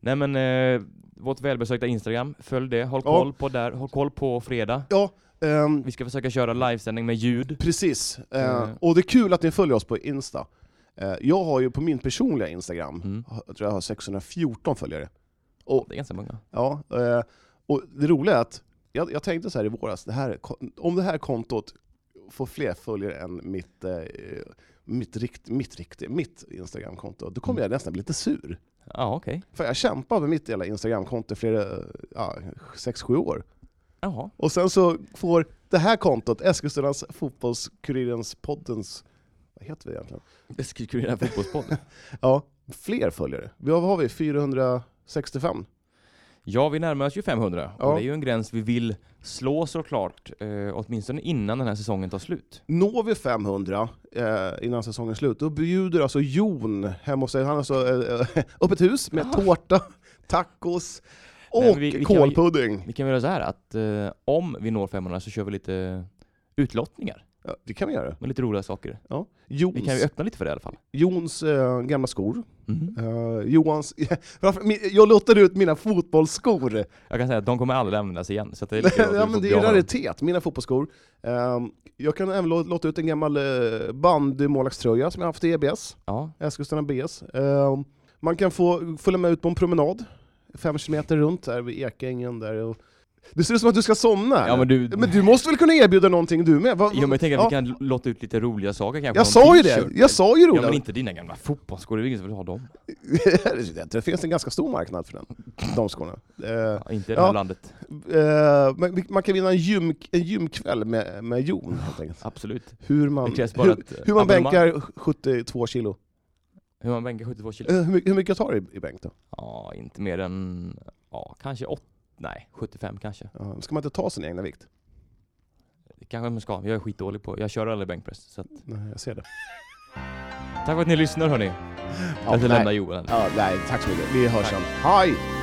Nej men, eh, vårt välbesökta Instagram, följ det. Håll Ja. koll på där, håll koll på fredag. Ja, ehm, Vi ska försöka köra livesändning med ljud. precis. Eh, Mm. Och det är kul att ni följer oss på Insta. Eh, jag har ju på min personliga Instagram, Mm. jag tror jag har 614 följare. Det är ganska många. Ja, eh, och det roliga är att jag, jag tänkte så här i våras, det här, om det här kontot får fler följare än mitt, eh, mitt, rikt, mitt, rikt, mitt Instagramkonto, då Mm. kommer jag nästan bli lite sur. Ja, okej. För jag kämpade med mitt jävla Instagramkonto i flera, ja, 6-7 år. Jaha. Och sen så får det här kontot, Eskilstunas Fotbollskurirens poddens, vad heter vi egentligen? Det skriker ju i den här fotbollspodden. Ja, fler följare. Vi har, vad har vi? 465? *laughs* Ja, vi närmar oss ju 500 Ja. och det är ju en gräns vi vill slå såklart, eh, åtminstone innan den här säsongen tar slut. Når vi 500 eh, innan säsongen är slut, då bjuder alltså Jon hemma hos sig, han har alltså eh, *laughs* öppet hus med tårta, tacos och Ah. Nej, men vi- vi kan- kolpudding. Vi kan väl göra så här att eh, om vi når 500 så kör vi lite utlottningar Ja, det kan vi göra. med lite roliga saker. Ja. Vi Jons, kan ju öppna lite för det i alla fall. Jons eh, gamla skor, Mhm. eh, Johans... *laughs* Varför- min- jag lottade ut mina fotbollsskor. Jag kan säga att de kommer aldrig användas igen. Så att *laughs* det är lika bra att *laughs* ja, vi men får det bli av är en med dem. raritet, mina fotbollsskor. Ehm, jag kan även lå- låta ut en gammal eh, bandymålvaktströja som jag haft i EBS. Ja, Eskilstuna BS. Ehm, man kan få följa med ut på en promenad, fem kilometer runt där vid Ekängen där. Och... Det ser ut som att du ska somna. ja men du... men du måste väl kunna erbjuda någonting du med? Va, va- Jo men jag tänker att ja, vi kan låta ut lite roliga saker kanske. Jag någon sa ju det! t-shirt. Jag sa ju Ja Roland! *laughs* men inte dina gamla fotbollsskor, det är väl ingen som vill ha dem. det finns en ganska stor marknad för den, de skorna. Ehm, Ja, inte i det här Ja. landet. eh, men vi- man kan vinna en, gym, en gymkväll med, med Jon helt enkelt. Absolut. Hur man, Det krävs bara hur, ett eh, hur man abonnemang. bänkar 72 kilo. Hur man bänkar 72 kilo. Eh, hur, mycket- hur mycket tar du i, i bänk då? Ja, inte mer än, ja kanske 8, nej 75 kanske. Ja, ska man inte ta sin egna vikt? Det kanske man ska, jag är skitdålig på, jag kör aldrig bänkpress. Så att, Nej, jag ser det. tack för att ni lyssnar hörni. Jag ska lämna Joel här nu. Ja, nej, tack så mycket. Vi hörs sen. Hej!